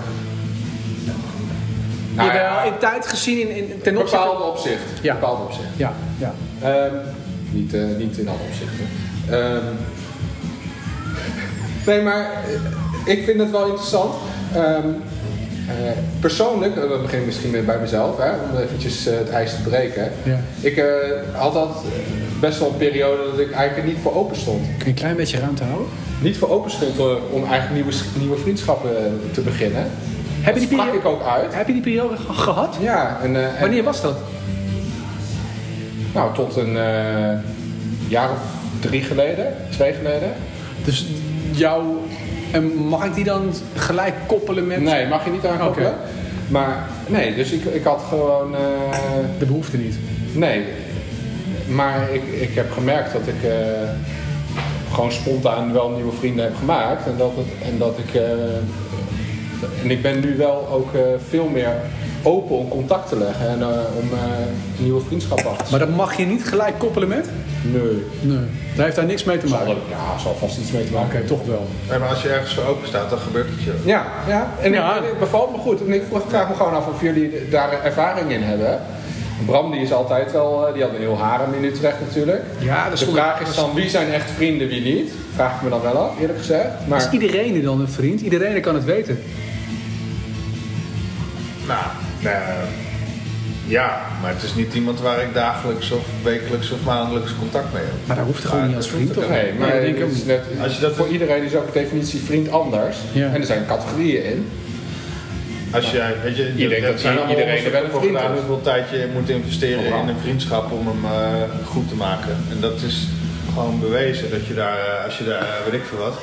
Speaker 2: Nou
Speaker 1: Jawel,
Speaker 2: ja,
Speaker 1: in tijd gezien in, in,
Speaker 2: in
Speaker 1: ten opzichte...
Speaker 2: bepaalde opzicht.
Speaker 1: Ja.
Speaker 2: Bepaalde opzicht.
Speaker 1: Ja, ja.
Speaker 2: Ehm, niet, eh, niet in alle opzichten. Ehm, nee, maar eh, ik vind het wel interessant. Ehm, eh, persoonlijk, eh, dat begin ik misschien met bij mezelf, hè, om eventjes eh, het ijs te breken.
Speaker 1: Ja.
Speaker 2: Ik eh, had dat eh, best wel een periode dat ik eigenlijk er niet voor open stond.
Speaker 1: Kun je een klein beetje ruimte houden?
Speaker 2: Niet voor open stond eh, om eigenlijk nieuwe, s- nieuwe vriendschappen eh, te beginnen.
Speaker 1: Heb je die
Speaker 2: dat sprak ik
Speaker 1: periode,
Speaker 2: ook uit.
Speaker 1: heb je die periode ge- gehad?
Speaker 2: Ja, en, eh, en-
Speaker 1: Wanneer was dat?
Speaker 2: nou, tot een eh, jaar of drie geleden, twee geleden.
Speaker 1: Dus jouw... En mag ik die dan gelijk koppelen met
Speaker 2: Nee, mag je niet aankoppelen.
Speaker 1: Oké.
Speaker 2: Maar nee, dus ik, ik had gewoon. eh,
Speaker 1: de behoefte niet?
Speaker 2: nee. Maar ik, ik heb gemerkt dat ik eh, gewoon spontaan wel nieuwe vrienden heb gemaakt. En dat, het, en dat ik. eh, en ik ben nu wel ook eh, veel meer open om contact te leggen en eh, om eh, nieuwe vriendschappen af te
Speaker 1: Maar dat mag je niet gelijk koppelen met?
Speaker 2: Nee.
Speaker 1: Nee. Daar heeft daar niks mee te
Speaker 2: Zal
Speaker 1: maken.
Speaker 2: er-
Speaker 1: Oké,
Speaker 2: ja, zal vast iets mee te maken hebben.
Speaker 1: toch wel.
Speaker 4: Nee, maar als je ergens voor open staat, dan gebeurt het je.
Speaker 2: Ja, ja. En
Speaker 1: Ja.
Speaker 2: Ik, en ik bevalt me goed. En ik vroeg- vraag me gewoon af of jullie daar ervaring in hebben. Bram die is altijd wel, eh, die had een heel harem in Utrecht natuurlijk.
Speaker 1: Ja, dat
Speaker 2: De
Speaker 1: is goed.
Speaker 2: vraag is dan wie zijn echt vrienden, wie niet? Vraag ik me dan wel af, eerlijk gezegd.
Speaker 1: Is
Speaker 2: Maar
Speaker 1: iedereen er dan een vriend? Iedereen kan het weten.
Speaker 4: Nou, eh, ja, maar het is niet iemand waar ik dagelijks of wekelijks of maandelijks contact mee heb.
Speaker 1: Maar daar hoeft er gewoon
Speaker 4: Maar
Speaker 1: niet als
Speaker 4: dat
Speaker 1: vriend
Speaker 4: hoeft
Speaker 1: toch?
Speaker 4: ook
Speaker 2: nee, maar
Speaker 1: ik denk
Speaker 2: het
Speaker 1: ook
Speaker 2: is
Speaker 1: niet.
Speaker 2: net,
Speaker 4: Als je dat-
Speaker 2: voor iedereen is ook de definitie vriend anders.
Speaker 1: Ja.
Speaker 2: En er zijn categorieën in.
Speaker 4: Als jij, weet je,
Speaker 2: Je denkt dat
Speaker 4: zijn
Speaker 2: i-
Speaker 4: allemaal
Speaker 2: iedereen er wel
Speaker 4: onderzoeken
Speaker 2: een vriend
Speaker 4: voor gedaan
Speaker 2: is.
Speaker 4: hoeveel tijd je moet investeren in een vriendschap om hem eh, goed te maken. En dat is gewoon bewezen dat je daar, eh, als je daar, eh, weet ik veel wat,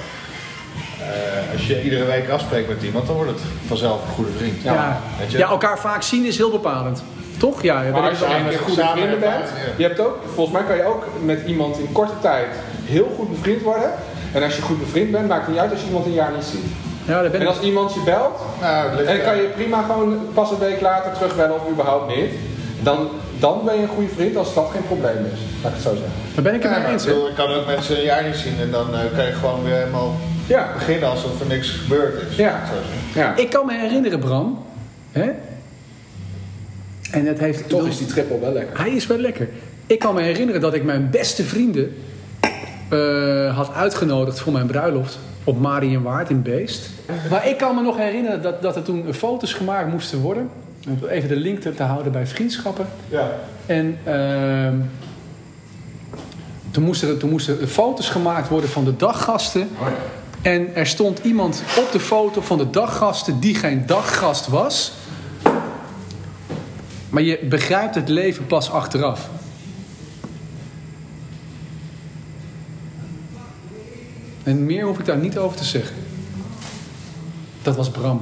Speaker 4: Eh, als je iedere week afspreekt met iemand, dan wordt het vanzelf een goede vriend.
Speaker 1: Ja. Ja.
Speaker 4: Weet je?
Speaker 1: elkaar vaak zien is heel bepalend. Toch? Ja, ben
Speaker 2: Maar
Speaker 1: ik-
Speaker 2: als je een keer goede
Speaker 4: samen
Speaker 2: vrienden
Speaker 4: ervaren,
Speaker 2: bent,
Speaker 4: ja.
Speaker 2: je hebt ook, volgens mij kan je ook met iemand in korte tijd heel goed bevriend worden. En als je goed bevriend bent, maakt het niet uit als je iemand een jaar niet ziet.
Speaker 1: ja, daar ben
Speaker 2: En
Speaker 1: ik.
Speaker 2: als iemand je belt,
Speaker 4: Nou, dat ligt
Speaker 2: en Eh, kan
Speaker 4: eraan.
Speaker 2: je prima gewoon pas een week later terugbellen of überhaupt niet. Dan, dan ben je een goede vriend als dat geen probleem is, laat ik het zo zeggen.
Speaker 1: Daar ben ik het
Speaker 4: Ja,
Speaker 1: mee
Speaker 4: maar ik
Speaker 1: eens. hè.
Speaker 4: bedoel, ik kan ook mensen een jaar niet zien en dan eh, kan je gewoon weer helemaal
Speaker 2: Ja.
Speaker 4: beginnen alsof er niks gebeurd is.
Speaker 2: Ja.
Speaker 4: Zo zeggen.
Speaker 2: Ja.
Speaker 1: Ik kan me herinneren, Bram. Hè? En dat heeft. ik
Speaker 7: Toch
Speaker 1: bedoel,
Speaker 7: is die triple wel lekker.
Speaker 1: Hij is wel lekker. Ik kan me herinneren dat ik mijn beste vrienden eh, had uitgenodigd voor mijn bruiloft op Marienwaard in Beest. Maar ik kan me nog herinneren dat, dat er toen foto's gemaakt moesten worden. Om even de link te, te houden bij vriendschappen. En ehm, toen, moesten er, toen moesten er foto's gemaakt worden van de daggasten. En er stond iemand op de foto van de daggasten die geen daggast was. Maar je begrijpt het leven pas achteraf. En meer hoef ik daar niet over te zeggen. Dat was Bram.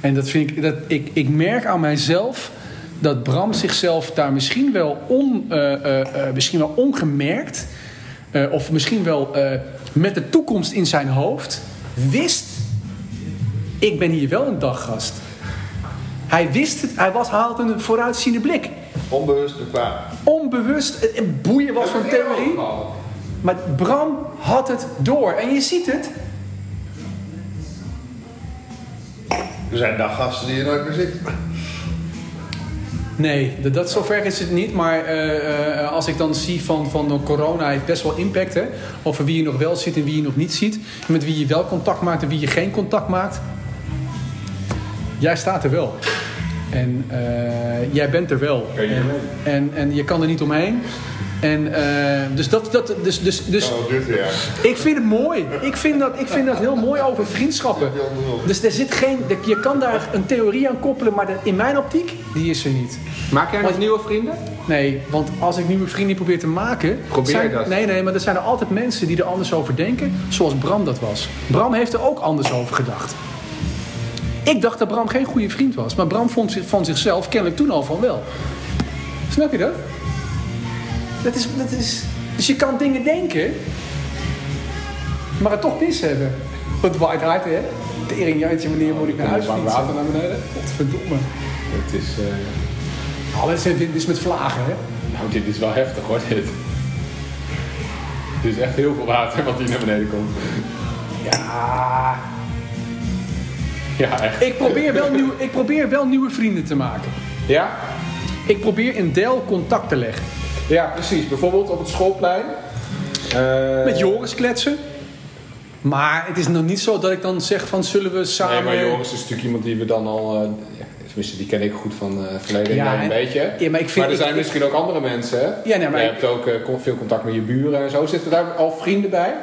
Speaker 1: En dat vind ik, dat, ik, ik merk aan mijzelf dat Bram zichzelf daar misschien wel, on, eh, eh, eh, misschien wel ongemerkt, eh, of misschien wel eh, met de toekomst in zijn hoofd, wist: ik ben hier wel een daggast. Hij wist het, hij was, hij had een vooruitziende blik.
Speaker 4: Onbewust bekwaam.
Speaker 1: Onbewust, eh, eh, boeien wat voor theorie. Maar Bram had het door. En je ziet het,
Speaker 4: Er zijn daggasten die je nooit meer ziet.
Speaker 1: Nee, dat, dat zover is het niet. Maar eh, eh, als ik dan zie van, van de corona heeft best wel impact. Hè? Over wie je nog wel ziet en wie je nog niet ziet. Met wie je wel contact maakt en wie je geen contact maakt. Jij staat er wel. En eh, jij bent er wel. En, en, en je kan er niet omheen. En eh, dus dat, dat dus, dus, dus
Speaker 4: Oh, dit jaar.
Speaker 1: ik vind het mooi. Ik vind dat, ik vind dat heel mooi over vriendschappen. Dus er zit geen, je kan daar een theorie aan koppelen, maar dat- in mijn optiek, die is er niet.
Speaker 2: Maak jij
Speaker 1: nog
Speaker 2: nog nieuwe vrienden?
Speaker 1: Nee, want als ik nieuwe vrienden probeer te maken.
Speaker 2: Probeer
Speaker 1: zijn,
Speaker 2: dat.
Speaker 1: Nee, nee, maar er zijn er altijd mensen die er anders over denken. Zoals Bram dat was. Bram heeft er ook anders over gedacht. Ik dacht dat Bram geen goede vriend was. Maar Bram vond zich van zichzelf kennelijk toen al van wel. Snap je dat? Dat is. Dat is dus je kan dingen denken, maar het toch mis hebben. Wat waait hard, hè? Tering, jantje, wanneer moet ik naar huis fietsen? Water naar beneden? Godverdomme.
Speaker 7: Het is, eh,
Speaker 1: Alles heeft dit is met vlagen, hè?
Speaker 7: nou, dit is wel heftig hoor, dit. Dit is echt heel veel water wat hier naar beneden komt.
Speaker 1: Ja.
Speaker 7: Ja, echt.
Speaker 1: Ik probeer, wel nieuw, ik probeer wel nieuwe vrienden te maken.
Speaker 2: Ja?
Speaker 1: Ik probeer in Del contact te leggen.
Speaker 2: Ja, precies. Bijvoorbeeld op het schoolplein. Eh,
Speaker 1: Met Joris kletsen. Maar het is nog niet zo dat ik dan zeg van zullen we
Speaker 2: Nee,
Speaker 1: samen...
Speaker 2: maar Joris is natuurlijk iemand die we dan al... eh, ja, tenminste, die ken ik goed van eh verleden
Speaker 1: Ja,
Speaker 2: jaar
Speaker 1: en-
Speaker 2: een beetje.
Speaker 1: ja, maar ik vind-
Speaker 2: er
Speaker 1: ik-
Speaker 2: zijn dus-
Speaker 1: ik-
Speaker 2: misschien ook andere mensen, hè?
Speaker 1: Ja, nee, maar
Speaker 2: Je
Speaker 1: ik-
Speaker 2: hebt ook eh, con- veel contact met je buren en zo. Zitten daar al vrienden bij?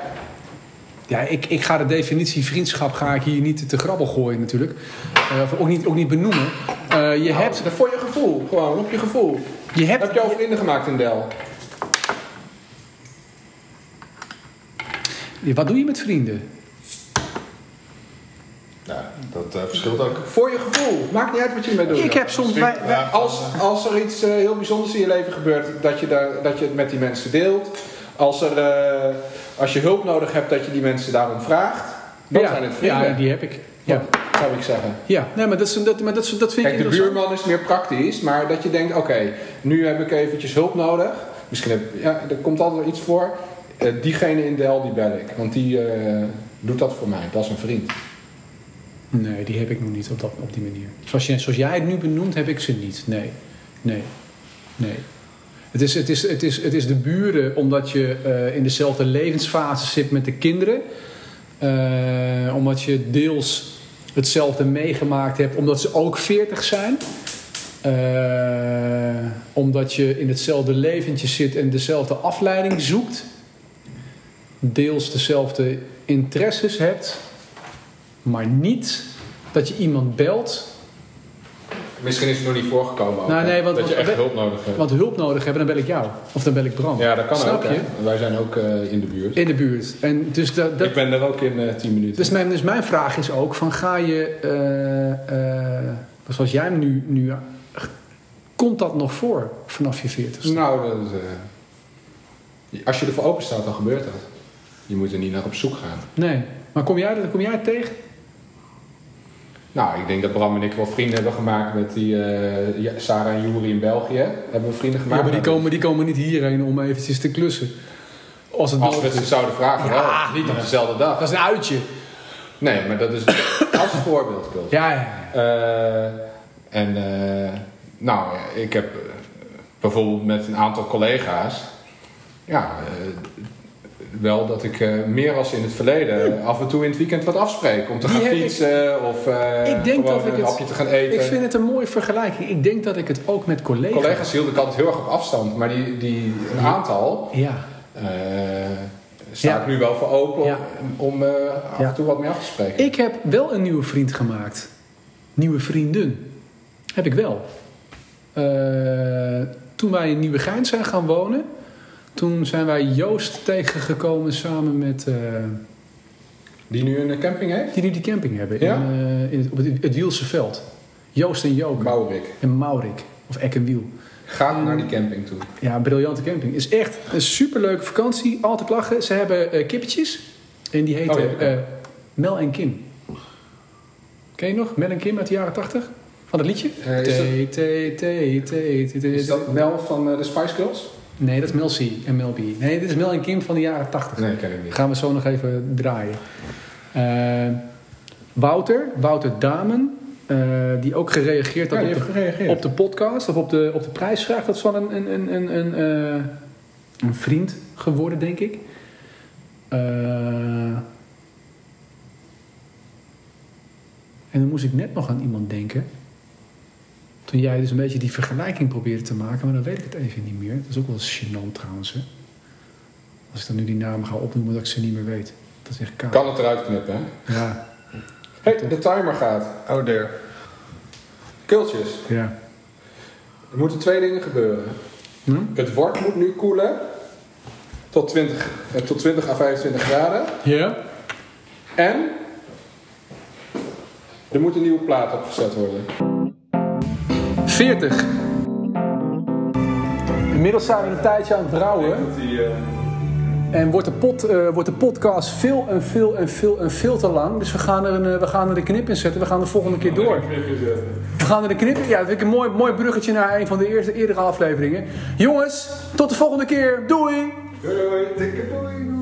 Speaker 1: Ja, ik, ik ga de definitie vriendschap ga ik hier niet te grabbel gooien natuurlijk. Eh, of ook niet, ook niet benoemen. Eh, je hebt...
Speaker 2: Nou, Dat voor je gevoel, gewoon, op je gevoel.
Speaker 1: Je hebt
Speaker 2: Heb je al vrienden gemaakt in Del?
Speaker 1: Wat doe je met vrienden?
Speaker 4: Nou, dat eh, verschilt ook.
Speaker 2: Voor je gevoel. Maakt niet uit wat je ermee doet.
Speaker 1: Ik heb soms... wij- wij-
Speaker 4: Ja,
Speaker 2: Als, als er iets eh, heel bijzonders in je leven gebeurt, dat je, daar, dat je het met die mensen deelt. Als, er, eh, als je hulp nodig hebt, dat je die mensen daarom vraagt. Dat zijn het vrienden,
Speaker 1: Ja, die heb ik. Ja,
Speaker 2: ja. zou ik zeggen.
Speaker 1: ja. Nee, maar dat, is, een- dat, maar dat, is- dat vind
Speaker 2: Kijk,
Speaker 1: ik
Speaker 2: de
Speaker 1: interessant.
Speaker 2: buurman is meer praktisch, maar dat je denkt, oké, nu heb ik eventjes hulp nodig. Misschien heb, ja, er komt altijd wel iets voor. Eh, diegene in Del, die bel ik, want die eh, doet dat voor mij. Dat is een vriend.
Speaker 1: Nee, die heb ik nog niet op, dat, op die manier. Zoals, je, zoals jij het nu benoemt, heb ik ze niet. Nee, nee, nee. Het is, het is, het is, het is de buren, omdat je eh, in dezelfde levensfase zit met de kinderen. Eh, omdat je deels hetzelfde meegemaakt hebt, omdat ze ook 40 zijn. Eh, omdat je in hetzelfde leventje zit en dezelfde afleiding zoekt. Deels dezelfde interesses hebt maar niet dat je iemand belt
Speaker 2: Misschien is het nog niet voorgekomen. ook,
Speaker 9: Nou,
Speaker 2: hè,
Speaker 9: nee, want-
Speaker 2: dat je
Speaker 9: want-
Speaker 2: echt hulp nodig hebt.
Speaker 9: Want hulp nodig hebben, dan bel ik jou. Of dan bel ik Bram.
Speaker 2: ja, dat kan
Speaker 9: Snap
Speaker 2: ook. hè.
Speaker 9: je?
Speaker 2: Wij zijn ook eh, in de buurt.
Speaker 9: In de buurt. En dus dat, dat,
Speaker 2: Ik ben er ook in eh 10 minuten.
Speaker 9: Dus mijn, dus mijn vraag is ook: van ga je, eh, eh, zoals jij hem nu, nu. Komt dat nog voor vanaf je 40
Speaker 2: nou, dat, eh, als je er voor open staat, dan gebeurt dat. Je moet er niet naar op zoek gaan.
Speaker 9: Nee. Maar kom jij, dat- kom jij het tegen?
Speaker 2: Nou, ik denk dat Bram en ik wel vrienden hebben gemaakt met die eh, ja, Sarah en Juri in België. Hebben we vrienden
Speaker 9: Ja,
Speaker 2: gemaakt. Nou,
Speaker 9: maar die komen, die komen niet hierheen om eventjes te klussen. Als het
Speaker 2: Als we
Speaker 9: nodig
Speaker 2: het ze
Speaker 9: is.
Speaker 2: zouden vragen,
Speaker 9: Ja.
Speaker 2: wel. Niet op dezelfde dag.
Speaker 9: Dat is een uitje.
Speaker 2: Nee, maar dat is als voorbeeld. Pils.
Speaker 9: Ja, ja, ja.
Speaker 2: Eh, en eh, nou, ik heb eh, bijvoorbeeld met een aantal collega's, ja, eh, wel dat ik eh, meer als in het verleden af en toe in het weekend wat afspreek om te
Speaker 9: Die
Speaker 2: gaan
Speaker 9: heb ik-
Speaker 2: fietsen of eh,
Speaker 9: Ik denk
Speaker 2: gewoon
Speaker 9: dat ik
Speaker 2: een
Speaker 9: het-
Speaker 2: hapje te gaan eten.
Speaker 9: Ik vind het een mooie vergelijking. Ik denk dat ik het ook met collega's.
Speaker 2: Collega's hielden ik altijd heel erg op afstand, maar die, die een aantal
Speaker 9: Ja.
Speaker 2: eh, sta
Speaker 9: Ja.
Speaker 2: ik nu wel voor open om,
Speaker 9: Ja.
Speaker 2: om, eh, af
Speaker 9: Ja.
Speaker 2: en toe wat mee af te spreken.
Speaker 9: Ik heb wel een nieuwe vriend gemaakt. Nieuwe vriendin. Heb ik wel. Eh, toen wij in Nieuwegein zijn gaan wonen... toen zijn wij Joost tegengekomen samen met... eh,
Speaker 2: Die nu een eh, camping heeft?
Speaker 9: die nu die camping hebben.
Speaker 2: Ja?
Speaker 9: In, eh, in het, op het, het Wielse veld. Joost en Joke.
Speaker 2: Bouwrik.
Speaker 9: en Maurik. Of Eck en Wiel. Mm.
Speaker 2: Ga naar die camping toe.
Speaker 9: Ja, een briljante camping. Is echt een superleuke vakantie. Altijd lachen. Ze hebben eh, kippetjes. En die heten
Speaker 2: Oh, ja, ja.
Speaker 9: eh, Mel en Kim. Ken je nog? Mel en Kim uit de jaren 80? Van dat liedje?
Speaker 2: Eh, is
Speaker 9: T, T, T, T, T, T,
Speaker 2: Is dat Mel van eh, de Spice Girls?
Speaker 9: Nee, dat is Mel C en Mel B. Nee, dit is Mel en Kim van de jaren 80.
Speaker 2: Nee, ken ik niet.
Speaker 9: Gaan we zo nog even draaien. Eh, Wouter, Wouter Damen, eh, die ook gereageerd had op de
Speaker 2: gereageerd.
Speaker 9: op de podcast of op de, op de prijsvraag. Dat is van een, een, een, een, een, eh, een vriend geworden, denk ik. Eh, en dan moest ik net nog aan iemand denken. Toen jij dus een beetje die vergelijking probeerde te maken, maar dan weet ik het even niet meer. Dat is ook wel gênant trouwens. Hè? Als ik dan nu die namen ga opnoemen, dat ik ze niet meer weet. Dat is echt kaal.
Speaker 2: Kan het eruit knippen, hè?
Speaker 9: Ja.
Speaker 2: Hé, de timer gaat.
Speaker 10: Oh, there.
Speaker 2: Kultjes.
Speaker 9: ja.
Speaker 2: Er moeten twee dingen gebeuren.
Speaker 9: Hm?
Speaker 2: Het wort moet nu koelen. Tot 20, eh, tot 20 à 25 graden.
Speaker 9: Ja?
Speaker 2: En... Er moet een nieuwe plaat opgezet worden.
Speaker 9: 40. Inmiddels zijn we een tijdje aan het brouwen. En wordt de, pot, eh, wordt de podcast veel en veel en veel en veel te lang. Dus we gaan er, een, eh, we gaan er de knip in zetten. We gaan de volgende keer door. We gaan er de knip in. Ja, dat vind ik een mooi, mooi bruggetje naar een van de eerste eerdere afleveringen. Jongens, tot de volgende keer. Doei!
Speaker 2: Doei doei.